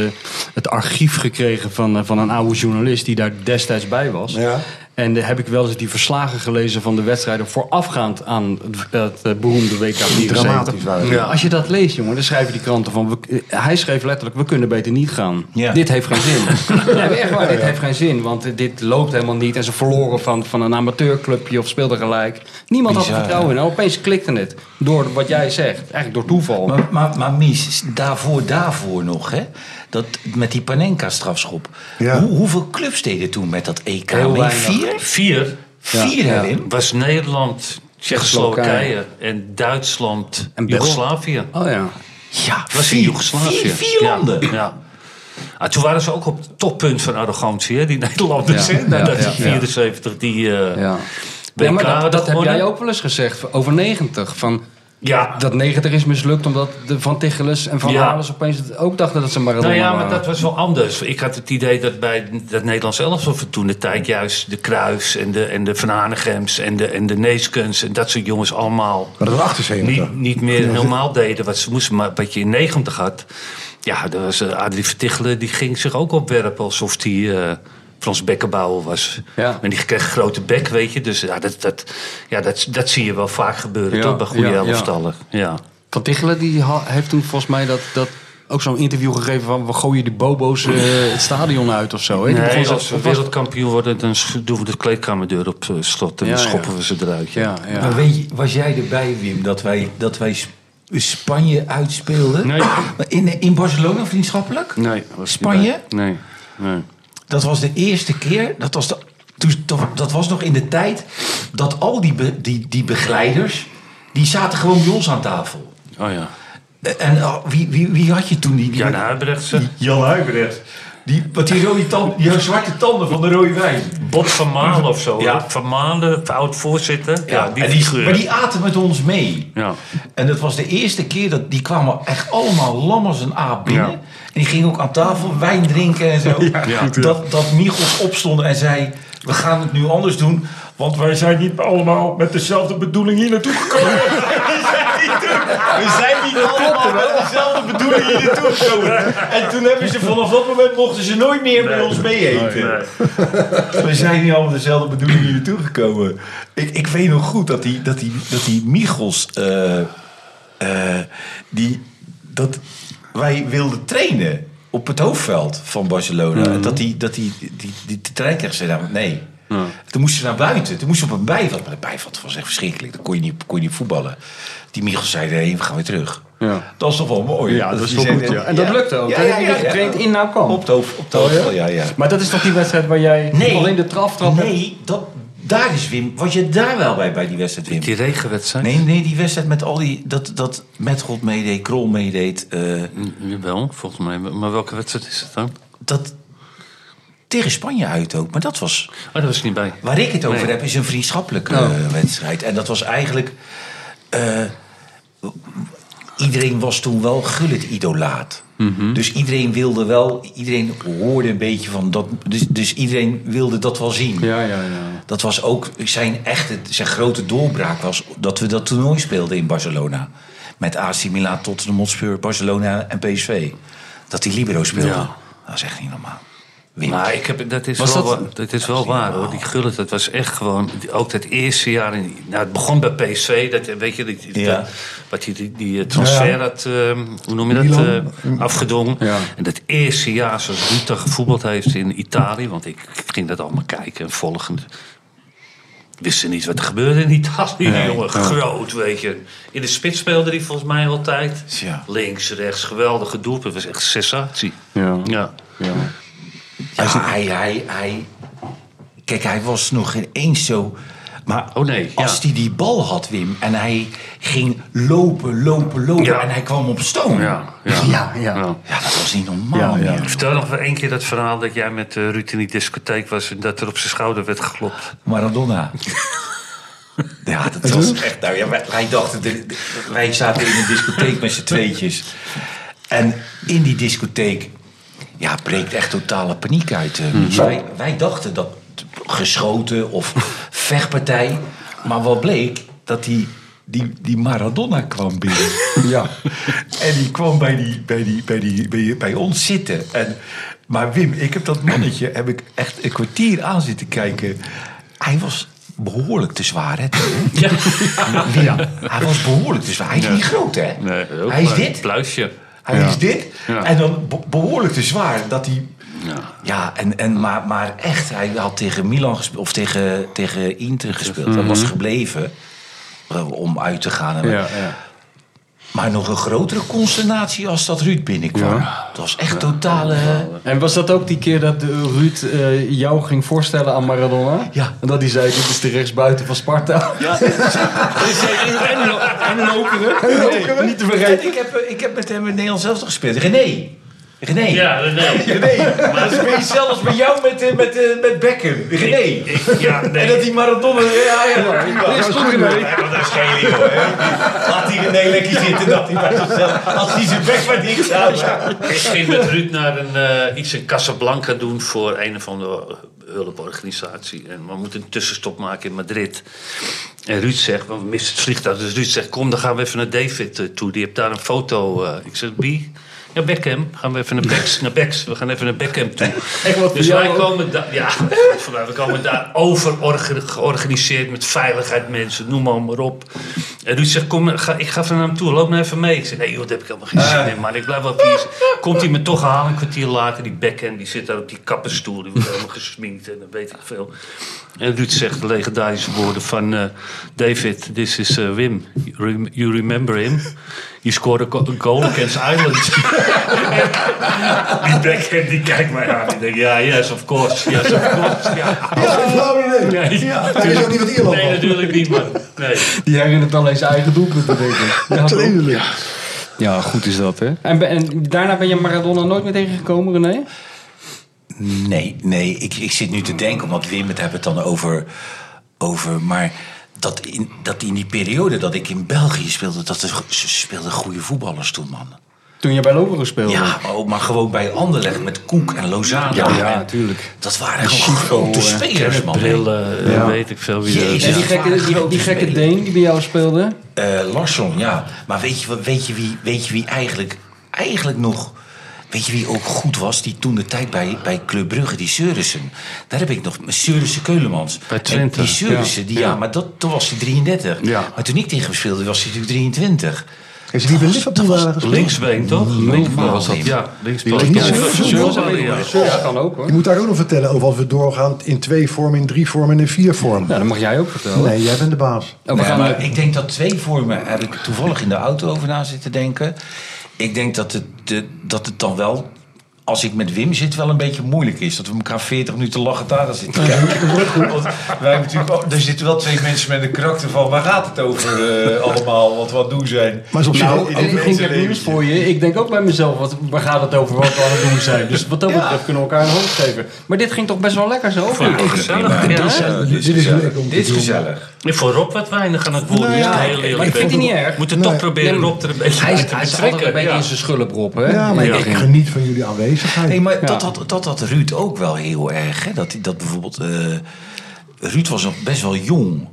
Speaker 2: het archief gekregen van, eh, van een oude journalist die daar destijds bij was.
Speaker 4: Ja.
Speaker 2: En En daar heb ik wel eens die verslagen gelezen van de wedstrijden voorafgaand aan het, het, eh, beroemde WK 74.
Speaker 4: Dramatisch waren het.
Speaker 2: Ja, Als je dat leest, jongen, dan schrijven die kranten van... we- eh, hij schreef letterlijk, we kunnen beter niet gaan.
Speaker 5: Ja.
Speaker 2: Dit heeft geen zin. ja, echt waar, dit heeft geen zin. Want eh, dit loopt helemaal niet. En ze verloren van, van een amateurclubje of speelden gelijk. Niemand had
Speaker 5: Bizar,
Speaker 2: er vertrouwen in. En opeens klikte het. Door wat jij zegt. Eigenlijk door toeval.
Speaker 5: Maar, maar, maar Mies, daarvoor, daarvoor nog, hè? Dat, met die Panenka-strafschop.
Speaker 4: Ja.
Speaker 5: Hoe, hoeveel clubs deden toen met dat EK?
Speaker 2: Heel
Speaker 5: mee?
Speaker 2: weinig.
Speaker 5: Vier?
Speaker 3: Vier
Speaker 5: Vier
Speaker 2: ja.
Speaker 5: erin?
Speaker 3: was Nederland, Tsjechoslowakije en Duitsland
Speaker 2: En
Speaker 3: en
Speaker 2: België.
Speaker 3: Joegoslavië.
Speaker 2: oh ja.
Speaker 5: Ja,
Speaker 3: Dat was in
Speaker 5: vier.
Speaker 3: Joegoslavië.
Speaker 5: Vier, vier
Speaker 3: Ja,
Speaker 5: landen.
Speaker 3: Ja. Ah, toen waren ze ook op het toppunt van arrogantie, hè, die Nederlanders.
Speaker 2: Ja,
Speaker 3: hè, nadat
Speaker 2: ja,
Speaker 3: die
Speaker 2: ja.
Speaker 3: 74 die eh
Speaker 2: ja.
Speaker 3: WK
Speaker 2: Ja, maar dat,
Speaker 3: hadden
Speaker 2: dat heb
Speaker 3: gewonnen.
Speaker 2: jij ook wel eens gezegd. Over 90. Van,
Speaker 3: Ja,
Speaker 2: dat 90 is mislukt omdat de Van Ticheles en Van
Speaker 3: Ja.
Speaker 2: Hales opeens het- ook dachten dat ze Maradona
Speaker 3: Nou ja, maar
Speaker 2: waren.
Speaker 3: dat was wel anders. Ik had het idee dat bij dat Nederlands elftal van toen de tijd juist de Kruis en de, en de Van Hanegems en de, en de Neeskens en dat soort jongens allemaal
Speaker 4: Maar dat was 78.
Speaker 3: niet, niet meer normaal deden wat ze moesten, maar wat je in 90 had. Ja, daar was eh, Adrie Vertichelen, die ging zich ook opwerpen alsof die eh, Frans Beckenbauer was.
Speaker 2: Ja.
Speaker 3: En die kreeg een grote bek, weet je. Dus ja, dat, dat, ja, dat, dat zie je wel vaak gebeuren,
Speaker 2: Ja,
Speaker 3: toch? Bij goede
Speaker 2: ja, ja.
Speaker 3: elftallen. Ja.
Speaker 2: Van Tichelen die ha- heeft toen volgens mij dat, dat ook zo'n interview gegeven van we gooien die bobo's eh, het stadion uit of zo. Hè? Die begon
Speaker 3: Nee,
Speaker 2: zo-
Speaker 3: als we
Speaker 2: of was-
Speaker 3: wereldkampioen worden, dan sch- doen we de kleedkamerdeur op eh, slot en
Speaker 2: Ja,
Speaker 3: dan
Speaker 2: ja.
Speaker 3: schoppen we ze eruit. Ja.
Speaker 2: Ja, ja.
Speaker 5: Maar weet je, was jij erbij, Wim, dat wij, dat wij Sp- Spanje uitspeelden?
Speaker 3: Nee.
Speaker 5: Maar In, in Barcelona vriendschappelijk?
Speaker 3: Nee,
Speaker 5: Spanje?
Speaker 3: Nee, nee.
Speaker 5: Dat was de eerste keer, dat was, de, toen- to- dat was nog in de tijd dat al die, be- die, die begeleiders, die zaten gewoon bij ons aan tafel.
Speaker 3: Oh ja.
Speaker 5: Eh, En oh, wie, wie, wie had je toen? Die, die
Speaker 3: Jan Huibrechtse,
Speaker 5: Jan Huibrecht. Die, wat die, rode tand, die zwarte tanden van de rode wijn.
Speaker 3: Bob van Malen of zo.
Speaker 5: Ja.
Speaker 3: hè? Van Malen, oud-voorzitter. Ja, die,
Speaker 5: en
Speaker 3: figuur.
Speaker 5: maar die aten met ons mee.
Speaker 3: Ja.
Speaker 5: En dat was de eerste keer dat die kwamen echt allemaal lam als een aap binnen.
Speaker 3: Ja.
Speaker 5: En die gingen ook aan tafel wijn drinken en zo. Dat, dat Michels opstond en zei: We gaan het nu anders doen. Want wij zijn niet allemaal met dezelfde bedoeling hier naartoe gekomen. We zijn niet allemaal met dezelfde bedoeling hier naartoe gekomen. En toen hebben ze vanaf dat moment mochten ze nooit meer bij ons mee eten. We zijn niet allemaal dezelfde bedoeling hier naartoe gekomen. Ik, ik weet nog goed dat die, dat die, dat die Michels. eh, eh, die, dat wij wilden trainen op het hoofdveld van Barcelona.
Speaker 2: Mhm.
Speaker 5: En Dat die, dat die, die, die, die treinkerk zei nou, nee. Toen moesten ze naar buiten. Toen moesten ze op een bijveld. Maar dat bijveld was echt verschrikkelijk. Dan kon je niet, kon je niet voetballen. Die Michels zei, nee, we gaan weer terug.
Speaker 2: Ja.
Speaker 5: Dat is toch wel mooi.
Speaker 2: Ja, dat is
Speaker 5: je
Speaker 2: wel
Speaker 5: zei,
Speaker 2: goed, ja. En dat lukte ook, hè? Die werd getraind in Nou kwam.
Speaker 5: Op het hoofd, op het hoofdveld, ja, ja.
Speaker 2: Maar dat is toch die wedstrijd waar jij
Speaker 5: Nee.
Speaker 2: alleen de traftrap hebt?
Speaker 5: Nee, dat, daar is Wim. Was je daar wel bij, bij die wedstrijd, Wim?
Speaker 3: Die regenwedstrijd.
Speaker 5: Nee, nee, die wedstrijd met al die... Dat, dat Metgold meedeed, Krol meedeed. eh,
Speaker 2: Mm.
Speaker 3: Jawel, volgens mij. Maar welke wedstrijd is het dan?
Speaker 5: dat tegen Spanje uit ook. Maar dat was...
Speaker 3: Oh, daar was ik niet bij.
Speaker 5: Waar ik het over
Speaker 3: Nee.
Speaker 5: heb, is een vriendschappelijke
Speaker 2: Oh.
Speaker 5: eh, wedstrijd. En dat was eigenlijk... eh, iedereen was toen wel gullet-idolaat.
Speaker 2: Mhm.
Speaker 5: Dus iedereen wilde wel... Iedereen hoorde een beetje van dat... Dus, dus iedereen wilde dat wel zien.
Speaker 2: Ja, ja, ja.
Speaker 5: Dat was ook zijn echte, zijn grote doorbraak was dat we dat toernooi speelden in Barcelona. Met AC Milan, Tottenham, Hotspur, Barcelona en PSV. Dat die libero speelde.
Speaker 3: Ja.
Speaker 5: Dat is echt niet normaal. Wim.
Speaker 3: Maar ik heb, dat is
Speaker 5: Was
Speaker 3: wel,
Speaker 5: dat-
Speaker 3: wa- dat is wel waar hoor. Die gullet, dat was echt gewoon. Ook dat eerste jaar. In, nou, het begon bij PSV. Dat, eh, weet je, die, die-
Speaker 5: Ja.
Speaker 3: dat- wat die, die, die, eh, transfer had. ehm, hoe noem je dat?
Speaker 4: Milan.
Speaker 3: eh, afgedwongen.
Speaker 2: Ja.
Speaker 3: En dat eerste jaar, zoals Ruta gevoetbald heeft in Italië. Want ik ging dat allemaal kijken en volgen. Wisten niet wat er gebeurde in Italië, jongen. Groot, weet je. In de spits speelde hij volgens mij altijd.
Speaker 5: Ja.
Speaker 3: Links, rechts, geweldige doelpunt. Het was echt een sensatie.
Speaker 2: Ja.
Speaker 3: Ja.
Speaker 2: ja.
Speaker 5: Ja, hij, hij, hij, kijk, hij was nog geen eens zo. Maar
Speaker 3: Oh, nee, ja.
Speaker 5: als hij die bal had, Wim, en hij ging lopen, lopen, lopen.
Speaker 3: Ja.
Speaker 5: En hij kwam op stoom.
Speaker 3: Ja, ja.
Speaker 5: ja, ja.
Speaker 3: Ja.
Speaker 5: Ja, dat was niet normaal
Speaker 2: Ja, ja.
Speaker 5: meer.
Speaker 3: Vertel nog wel één keer dat verhaal dat jij met eh Ruud in die discotheek was en dat er op zijn schouder werd geklopt.
Speaker 5: Maradona. Ja, dat was echt. Nou ja, wij, wij dachten, de- de- wij zaten in een discotheek met z'n tweetjes. En in die discotheek ja, breekt echt totale paniek uit. eh, Mies. wij, wij dachten dat geschoten of vechtpartij. Maar wat bleek, dat die, die, die Maradona kwam binnen.
Speaker 2: Ja.
Speaker 5: En die kwam bij, die, bij, die, bij, die, bij, bij ons zitten. En, maar Wim, ik heb dat mannetje heb ik echt een kwartier aan zitten kijken. Hij was behoorlijk te zwaar, hè? Ja. Hij was behoorlijk te zwaar. Hij is niet groot, hè?
Speaker 3: Nee, ook
Speaker 5: hij is
Speaker 3: maar
Speaker 5: dit.
Speaker 3: Een pluisje.
Speaker 5: Hij is dit.
Speaker 3: Ja.
Speaker 5: En dan be- behoorlijk te zwaar dat hij.
Speaker 3: Ja.
Speaker 5: Ja, en, en, maar, maar echt, hij had tegen Milan gespeeld, of tegen, tegen Inter gespeeld. Dat
Speaker 3: Mhm.
Speaker 5: was gebleven eh, om uit te gaan. En- Maar nog een grotere consternatie als dat Ruud binnenkwam. Dat was echt totale...
Speaker 2: En was dat ook die keer dat eh, Ruud eh, jou ging voorstellen aan Maradona?
Speaker 5: Ja.
Speaker 2: En dat hij zei, dit is de rechtsbuiten van Sparta.
Speaker 3: En een okere.
Speaker 2: eh,
Speaker 5: Nee, niet te vergeten. Ik heb, ik heb met hem in Nederland zelf gespeeld. René. René.
Speaker 3: Ja, nee.
Speaker 5: René. Maar dat is een beetje hetzelfde als bij jou met, eh, met, eh, met Beckham. René.
Speaker 3: Ik, ja,
Speaker 5: En
Speaker 3: nee.
Speaker 5: dat die Maradona... Ja, ja, ja. prima. Ja, dat is geen leeuw, hè. Laat die René lekker zitten. Dat hij bij zichzelf... Als hij zijn bek maar dicht houdt.
Speaker 3: Ik ging met Ruud naar een, eh, iets in Casablanca doen voor een of andere hulporganisatie. En we moeten een tussenstop maken in Madrid. En Ruud zegt, want we missen het vliegtuig. Dus Ruud zegt, kom, dan gaan we even naar David eh, toe. Die heeft daar een foto. eh. ik zeg, wie? Ja, Beckham. Gaan we even naar Becks. Naar Becks. We gaan even naar Beckham toe. dus wij komen daar... Ja, vanuit, we komen daar overorge- georganiseerd met veiligheid mensen. Noem maar, maar op. En Ruud zegt, kom, ga, ik ga even naar hem toe. Loop maar even mee. Ik zeg, nee joh, daar heb ik helemaal geen zin in. Maar ik blijf wel hier. Komt hij me toch halen een kwartier later. Die Beckham, die zit daar op die kappenstoel. Die wordt helemaal gesminkt en dan weet ik veel. En Ruud zegt de legendarische woorden van... eh, David, this is eh, Wim. You, rem- you remember him? He scored a go- a goal against Ireland. die Beckham, die kijkt mij aan. Die denkt, ja, yes, of course. Yes, of course. Ja.
Speaker 4: Ja, flauw idee.
Speaker 3: Nee,
Speaker 4: Hij is ook niet wat Ierland
Speaker 3: nee
Speaker 4: was.
Speaker 3: natuurlijk niet, man. Nee.
Speaker 2: Die herinnert alleen zijn eigen doelpunten, denk ik. Ja, toch?
Speaker 4: Natuurlijk.
Speaker 2: Ja, goed is dat, hè? En, be- en daarna ben je Maradona nooit meer tegengekomen, René?
Speaker 5: Nee, nee, ik, ik zit nu te denken, omdat Wim het hebben het dan over. over maar dat in, dat in die periode dat ik in België speelde, dat er, ze speelden goede voetballers toen, man.
Speaker 2: Toen je bij Loveren speelde.
Speaker 5: Ja, maar, ook, maar gewoon bij Anderlecht met Koek en Lozano.
Speaker 2: Ja, ja,
Speaker 5: En
Speaker 2: tuurlijk.
Speaker 5: Dat waren gewoon grote
Speaker 2: eh,
Speaker 5: spelers, man.
Speaker 3: Brillen, eh, weet ik veel wie dat is.
Speaker 5: Jezus.
Speaker 2: En die gekke, die, die gekke Deen die bij jou speelde.
Speaker 5: Eh, Larsson, ja. Maar weet je, wat- weet je, wie, weet je wie eigenlijk, eigenlijk nog... Weet je wie ook goed was? Die toen de tijd bij, bij Club Brugge, die Seurissen. Daar heb ik nog, Seurissen Keulemans.
Speaker 3: Bij
Speaker 5: En
Speaker 3: Twente,
Speaker 5: die Seurissen, ja. Die, ja, maar dat, toen was hij 33.
Speaker 3: Ja.
Speaker 5: Maar toen ik tegen hem speelde, was hij natuurlijk 23.
Speaker 4: Heeft hij niet bij Liverpool aan gespeeld?
Speaker 3: Linksbeen, toch? Linksbeen was dat. Ja, linksbeen.
Speaker 4: Linksbeen.
Speaker 3: Ja,
Speaker 2: Dat kan ook, hoor.
Speaker 4: Je moet daar ook nog vertellen over wat we doorgaan in twee vormen, in drie vormen en in vier vormen.
Speaker 2: Nou, dat mag jij ook vertellen.
Speaker 4: Nee, jij bent de baas.
Speaker 2: Oh, we
Speaker 5: Nee,
Speaker 2: gaan
Speaker 5: maar
Speaker 2: naar-
Speaker 5: ik denk dat twee vormen, heb ik toevallig in de auto over na zitten denken. Ik denk dat het, de, dat het dan wel, als ik met Wim zit, wel een beetje moeilijk is. Dat we elkaar 40 minuten lachen daar zitten kijken. Want wij hebben natuurlijk, ook- er zitten wel twee mensen met een karakter van, waar gaat het over eh, allemaal, wat we aan het doen zijn.
Speaker 4: Maar is op zich
Speaker 2: Nou,
Speaker 4: ook-
Speaker 2: en ik, ik heb nieuws voor je. Ik denk ook bij mezelf, wat, waar gaat het over wat we aan het doen zijn? Dus wat dat betreft kunnen we elkaar een hand geven. Maar dit ging toch best wel lekker zo?
Speaker 3: Vond ik ook gezellig. Ja, hè?
Speaker 5: Ja, dit
Speaker 4: dit is
Speaker 5: gezellig.
Speaker 4: leuk om te
Speaker 5: Dit is
Speaker 4: doen.
Speaker 5: gezellig.
Speaker 3: Ik vond Rob wat weinig aan het woord.
Speaker 4: Nou
Speaker 3: Dus
Speaker 4: ja,
Speaker 3: heel eerlijk
Speaker 2: maar ik vind
Speaker 3: ben.
Speaker 2: die niet erg.
Speaker 3: We moeten toch proberen Rob er een beetje
Speaker 2: Hij is,
Speaker 3: uit
Speaker 2: hij
Speaker 3: te
Speaker 2: is altijd een
Speaker 3: trekken.
Speaker 2: beetje
Speaker 3: ja.
Speaker 2: in zijn schulp, Rob, hè?
Speaker 4: Ja, maar
Speaker 2: In
Speaker 4: ik
Speaker 2: het begin.
Speaker 4: geniet van jullie aanwezigheid.
Speaker 5: Nee, maar
Speaker 2: Ja.
Speaker 5: dat, had, dat had Ruud ook wel heel erg. Hè? Dat, dat bijvoorbeeld. eh, Ruud was nog best wel jong.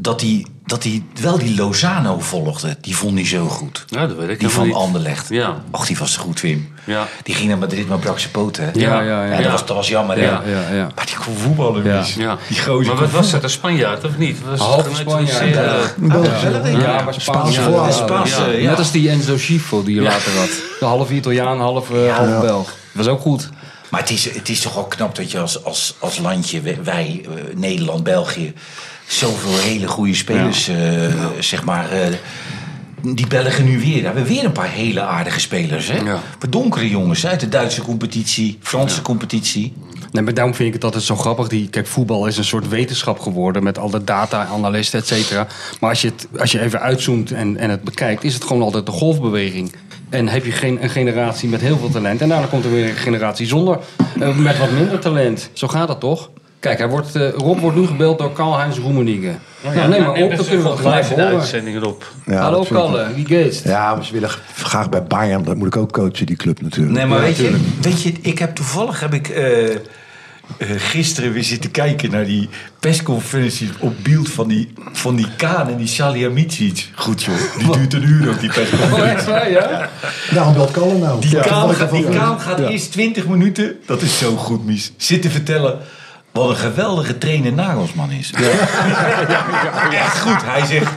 Speaker 5: Dat hij, dat hij wel die Lozano volgde. Die vond hij zo goed.
Speaker 3: Ja, dat weet ik
Speaker 5: Die
Speaker 3: helemaal
Speaker 5: van
Speaker 3: niet.
Speaker 5: Anderlecht.
Speaker 3: Ja.
Speaker 5: Och, die was goed, Wim.
Speaker 3: Ja.
Speaker 5: Die ging naar Madrid, maar brak zijn poten. hè?
Speaker 2: Ja, ja, ja.
Speaker 5: dat, was, dat was jammer, hè?
Speaker 2: Ja, ja, ja.
Speaker 5: Maar die kon voetballen,
Speaker 2: Ja.
Speaker 5: Mies.
Speaker 3: Ja.
Speaker 5: Die gozer
Speaker 3: Maar
Speaker 5: kon
Speaker 3: wat was dat, een Spanjaard of niet? Was het
Speaker 2: Half
Speaker 3: geneutraliseerd?
Speaker 2: Spanjaard, ja.
Speaker 4: Een Belgische.
Speaker 2: Ja, maar Spaans.
Speaker 4: Spaanse
Speaker 2: ja,
Speaker 4: vooraan.
Speaker 2: ja,
Speaker 5: Spaanse,
Speaker 2: ja.
Speaker 5: ja.
Speaker 2: Net als die Enzo Schifo die je later had. De half Italiaan, half, eh, half
Speaker 4: Ja.
Speaker 2: Belg. Was ook goed.
Speaker 5: Maar het is, het is toch ook knap dat je als, als, als landje, wij- wij, eh, Nederland, België, zoveel hele goede spelers, eh, zeg maar. eh, die Belgen nu weer. Nou, We hebben weer een paar hele aardige spelers. Hè?
Speaker 3: Ja.
Speaker 5: Verdonkere jongens uit de Duitse competitie, Franse competitie.
Speaker 2: Nee, maar daarom vind ik het altijd zo grappig. Die, kijk, voetbal is een soort wetenschap geworden met al de data, analisten, et cetera. Maar als je, het, als je even uitzoomt en, en het bekijkt, is het gewoon altijd de golfbeweging. En heb je geen, een generatie met heel veel talent. En daarna komt er weer een generatie zonder, eh, met wat minder talent. Zo gaat dat toch? Kijk, hij wordt, eh, Rob wordt nu gebeld door Karl-Heinz Roemenigge. Nou, neem maar op, dat kunnen we gelijk
Speaker 3: in de
Speaker 2: horen.
Speaker 3: uitzending Rob.
Speaker 4: Ja,
Speaker 2: Hallo
Speaker 4: dat vind ik wel.
Speaker 2: Kalle, wie geest?
Speaker 4: Ja, maar ze willen g- graag bij Bayern. Dat moet ik ook coachen, die club natuurlijk.
Speaker 5: Nee, maar
Speaker 4: Ja,
Speaker 5: weet, je,
Speaker 4: tuurlijk.
Speaker 5: weet je, ik heb toevallig heb ik, eh, eh, gisteren weer zitten kijken naar die persconferentie op beeld van die, van die Kaan en die Salihamidzic. Goed joh, die duurt een uur ook die persconferentie.
Speaker 2: Oh, echt waar, ja?
Speaker 4: Daarom belt Kallen nou.
Speaker 5: Die
Speaker 4: Ja,
Speaker 5: Kaan
Speaker 4: toevallig
Speaker 5: gaat, die
Speaker 4: daarvan-
Speaker 5: Kaan gaat
Speaker 4: Ja.
Speaker 5: eerst 20 minuten, dat is zo goed, Mies, zitten vertellen Wat een geweldige trainer Nagelsman is. Echt goed. Hij zegt...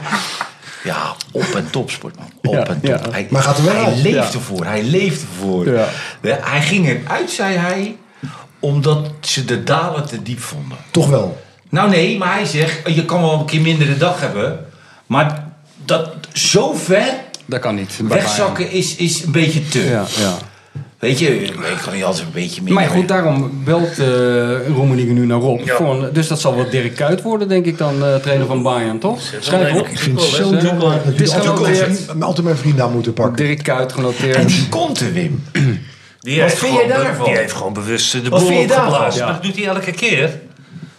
Speaker 5: Ja, op en top, sportman. Op
Speaker 2: Ja,
Speaker 5: en top.
Speaker 2: ja.
Speaker 5: Hij,
Speaker 4: Maar gaat er wel
Speaker 5: hij
Speaker 4: uit.
Speaker 5: leeft ervoor. Hij leeft ervoor.
Speaker 2: Ja.
Speaker 5: Ja, Hij ging eruit, zei hij, omdat ze de dalen te diep vonden.
Speaker 4: Toch wel.
Speaker 5: Nou nee, maar hij zegt, je kan wel een keer mindere dag hebben. Maar dat zo ver
Speaker 2: Dat kan niet. bij
Speaker 5: wegzakken is, is een beetje te.
Speaker 2: Bayern. Ja, ja.
Speaker 5: Weet je, ik kan niet altijd een beetje minder.
Speaker 2: Maar goed, daarom belt eh Roemenië nu naar Rob. Voor een- dus dat zal wel Dirk Kuyt worden, denk ik dan, eh, trainer van Bayern, toch? Schrijf op.
Speaker 4: Ik vind het zo
Speaker 2: Tuchel, hè?
Speaker 4: jammer dat jullie
Speaker 2: is
Speaker 4: altijd mijn
Speaker 2: genoteerd.
Speaker 4: vriend- altijd mijn vriend aan moeten pakken.
Speaker 2: Dirk Kuyt
Speaker 5: En
Speaker 2: genoteerd.
Speaker 5: die komt er, Wim.
Speaker 3: Die
Speaker 5: Wat
Speaker 3: heeft
Speaker 5: vind jij
Speaker 3: gewoon be-
Speaker 5: daarvan?
Speaker 3: Die heeft gewoon bewust eh, de
Speaker 5: Wat
Speaker 3: boel
Speaker 5: vind je daarvan?
Speaker 3: opgeblazen.
Speaker 2: Ja.
Speaker 3: Maar Dat doet hij elke keer.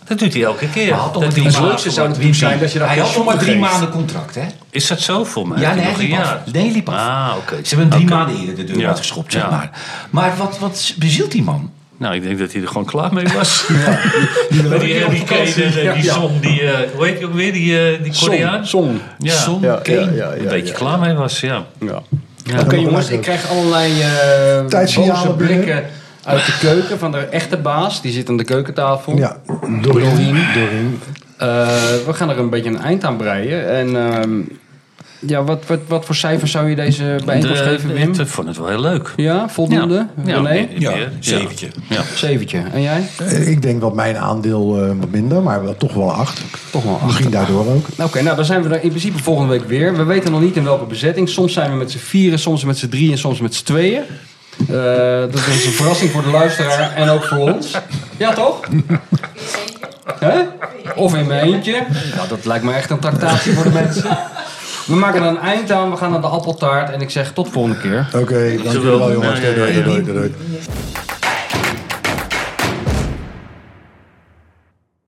Speaker 3: Dat doet hij elke keer.
Speaker 5: Hij had nog
Speaker 3: Dat
Speaker 5: maar drie
Speaker 3: hij-
Speaker 2: Het leukste zou natuurlijk zijn dat je dat
Speaker 5: Hij had nog maar drie
Speaker 2: geeft.
Speaker 5: maanden contract, hè?
Speaker 3: Is dat zo voor mij?
Speaker 5: Ja,
Speaker 3: Heeft
Speaker 5: nee,
Speaker 3: hij
Speaker 5: hij
Speaker 3: nog een
Speaker 5: liep
Speaker 3: jaar.
Speaker 5: af. Nee, hij liep af.
Speaker 3: Ah, oké.
Speaker 5: Ze hebben hem drie
Speaker 3: Oké.
Speaker 5: maanden eerder de deur
Speaker 3: Ja.
Speaker 5: uitgeschopt, zeg
Speaker 3: Ja.
Speaker 5: maar. Maar wat, wat bezielt die man?
Speaker 3: Nou, ik denk dat hij er gewoon klaar mee was. Met die Harry Kane en eh, die
Speaker 2: Ja.
Speaker 3: Son, die, eh, hoe heet je ook weer, die, eh, die Koreaan?
Speaker 2: Song. Song.
Speaker 3: Ja.
Speaker 5: Son
Speaker 2: Ja,
Speaker 5: Kane.
Speaker 2: ja, ja,
Speaker 3: Een beetje klaar mee was, ja.
Speaker 2: Ja. Oké jongens, ik krijg allerlei eh
Speaker 4: Tijdsignalen
Speaker 2: boze
Speaker 4: binnen.
Speaker 2: blikken uit de keuken van de echte baas. Die zit aan de keukentafel.
Speaker 4: Ja, Dorien. Dorien.
Speaker 2: Eh, we gaan er een beetje een eind aan breien. En ehm, ja, wat, wat, wat voor cijfers zou je deze bijeenkomst
Speaker 3: De-
Speaker 2: geven, Wim?
Speaker 3: eh, Ik vond het wel heel leuk.
Speaker 2: Ja, voldoende?
Speaker 3: Ja,
Speaker 2: René?
Speaker 3: meer- meer,
Speaker 5: zeventje.
Speaker 3: Ja.
Speaker 2: Zeventje. En jij?
Speaker 4: Eh, Ik denk dat mijn aandeel eh, wat minder, maar wel, toch wel acht.
Speaker 2: Toch wel acht.
Speaker 4: Misschien daardoor ook.
Speaker 2: Nou, Oké, nou dan zijn we er in principe volgende week weer. We weten nog niet in welke bezetting. Soms zijn we met z'n vieren, soms met z'n drieën en soms met z'n tweeën. Eh, dat is een verrassing voor de luisteraar en ook voor ons. Ja, toch? Hè? Of in mijn eentje. Nou, dat lijkt me echt een tractatie voor de mensen. We maken er een eind aan. We gaan naar de appeltaart. En ik zeg tot volgende keer.
Speaker 4: Oké, dankjewel
Speaker 3: Zowel-
Speaker 4: jongens.
Speaker 3: Ja, ja, ja,
Speaker 4: Doei, doei,
Speaker 3: ja.
Speaker 4: doei, doei.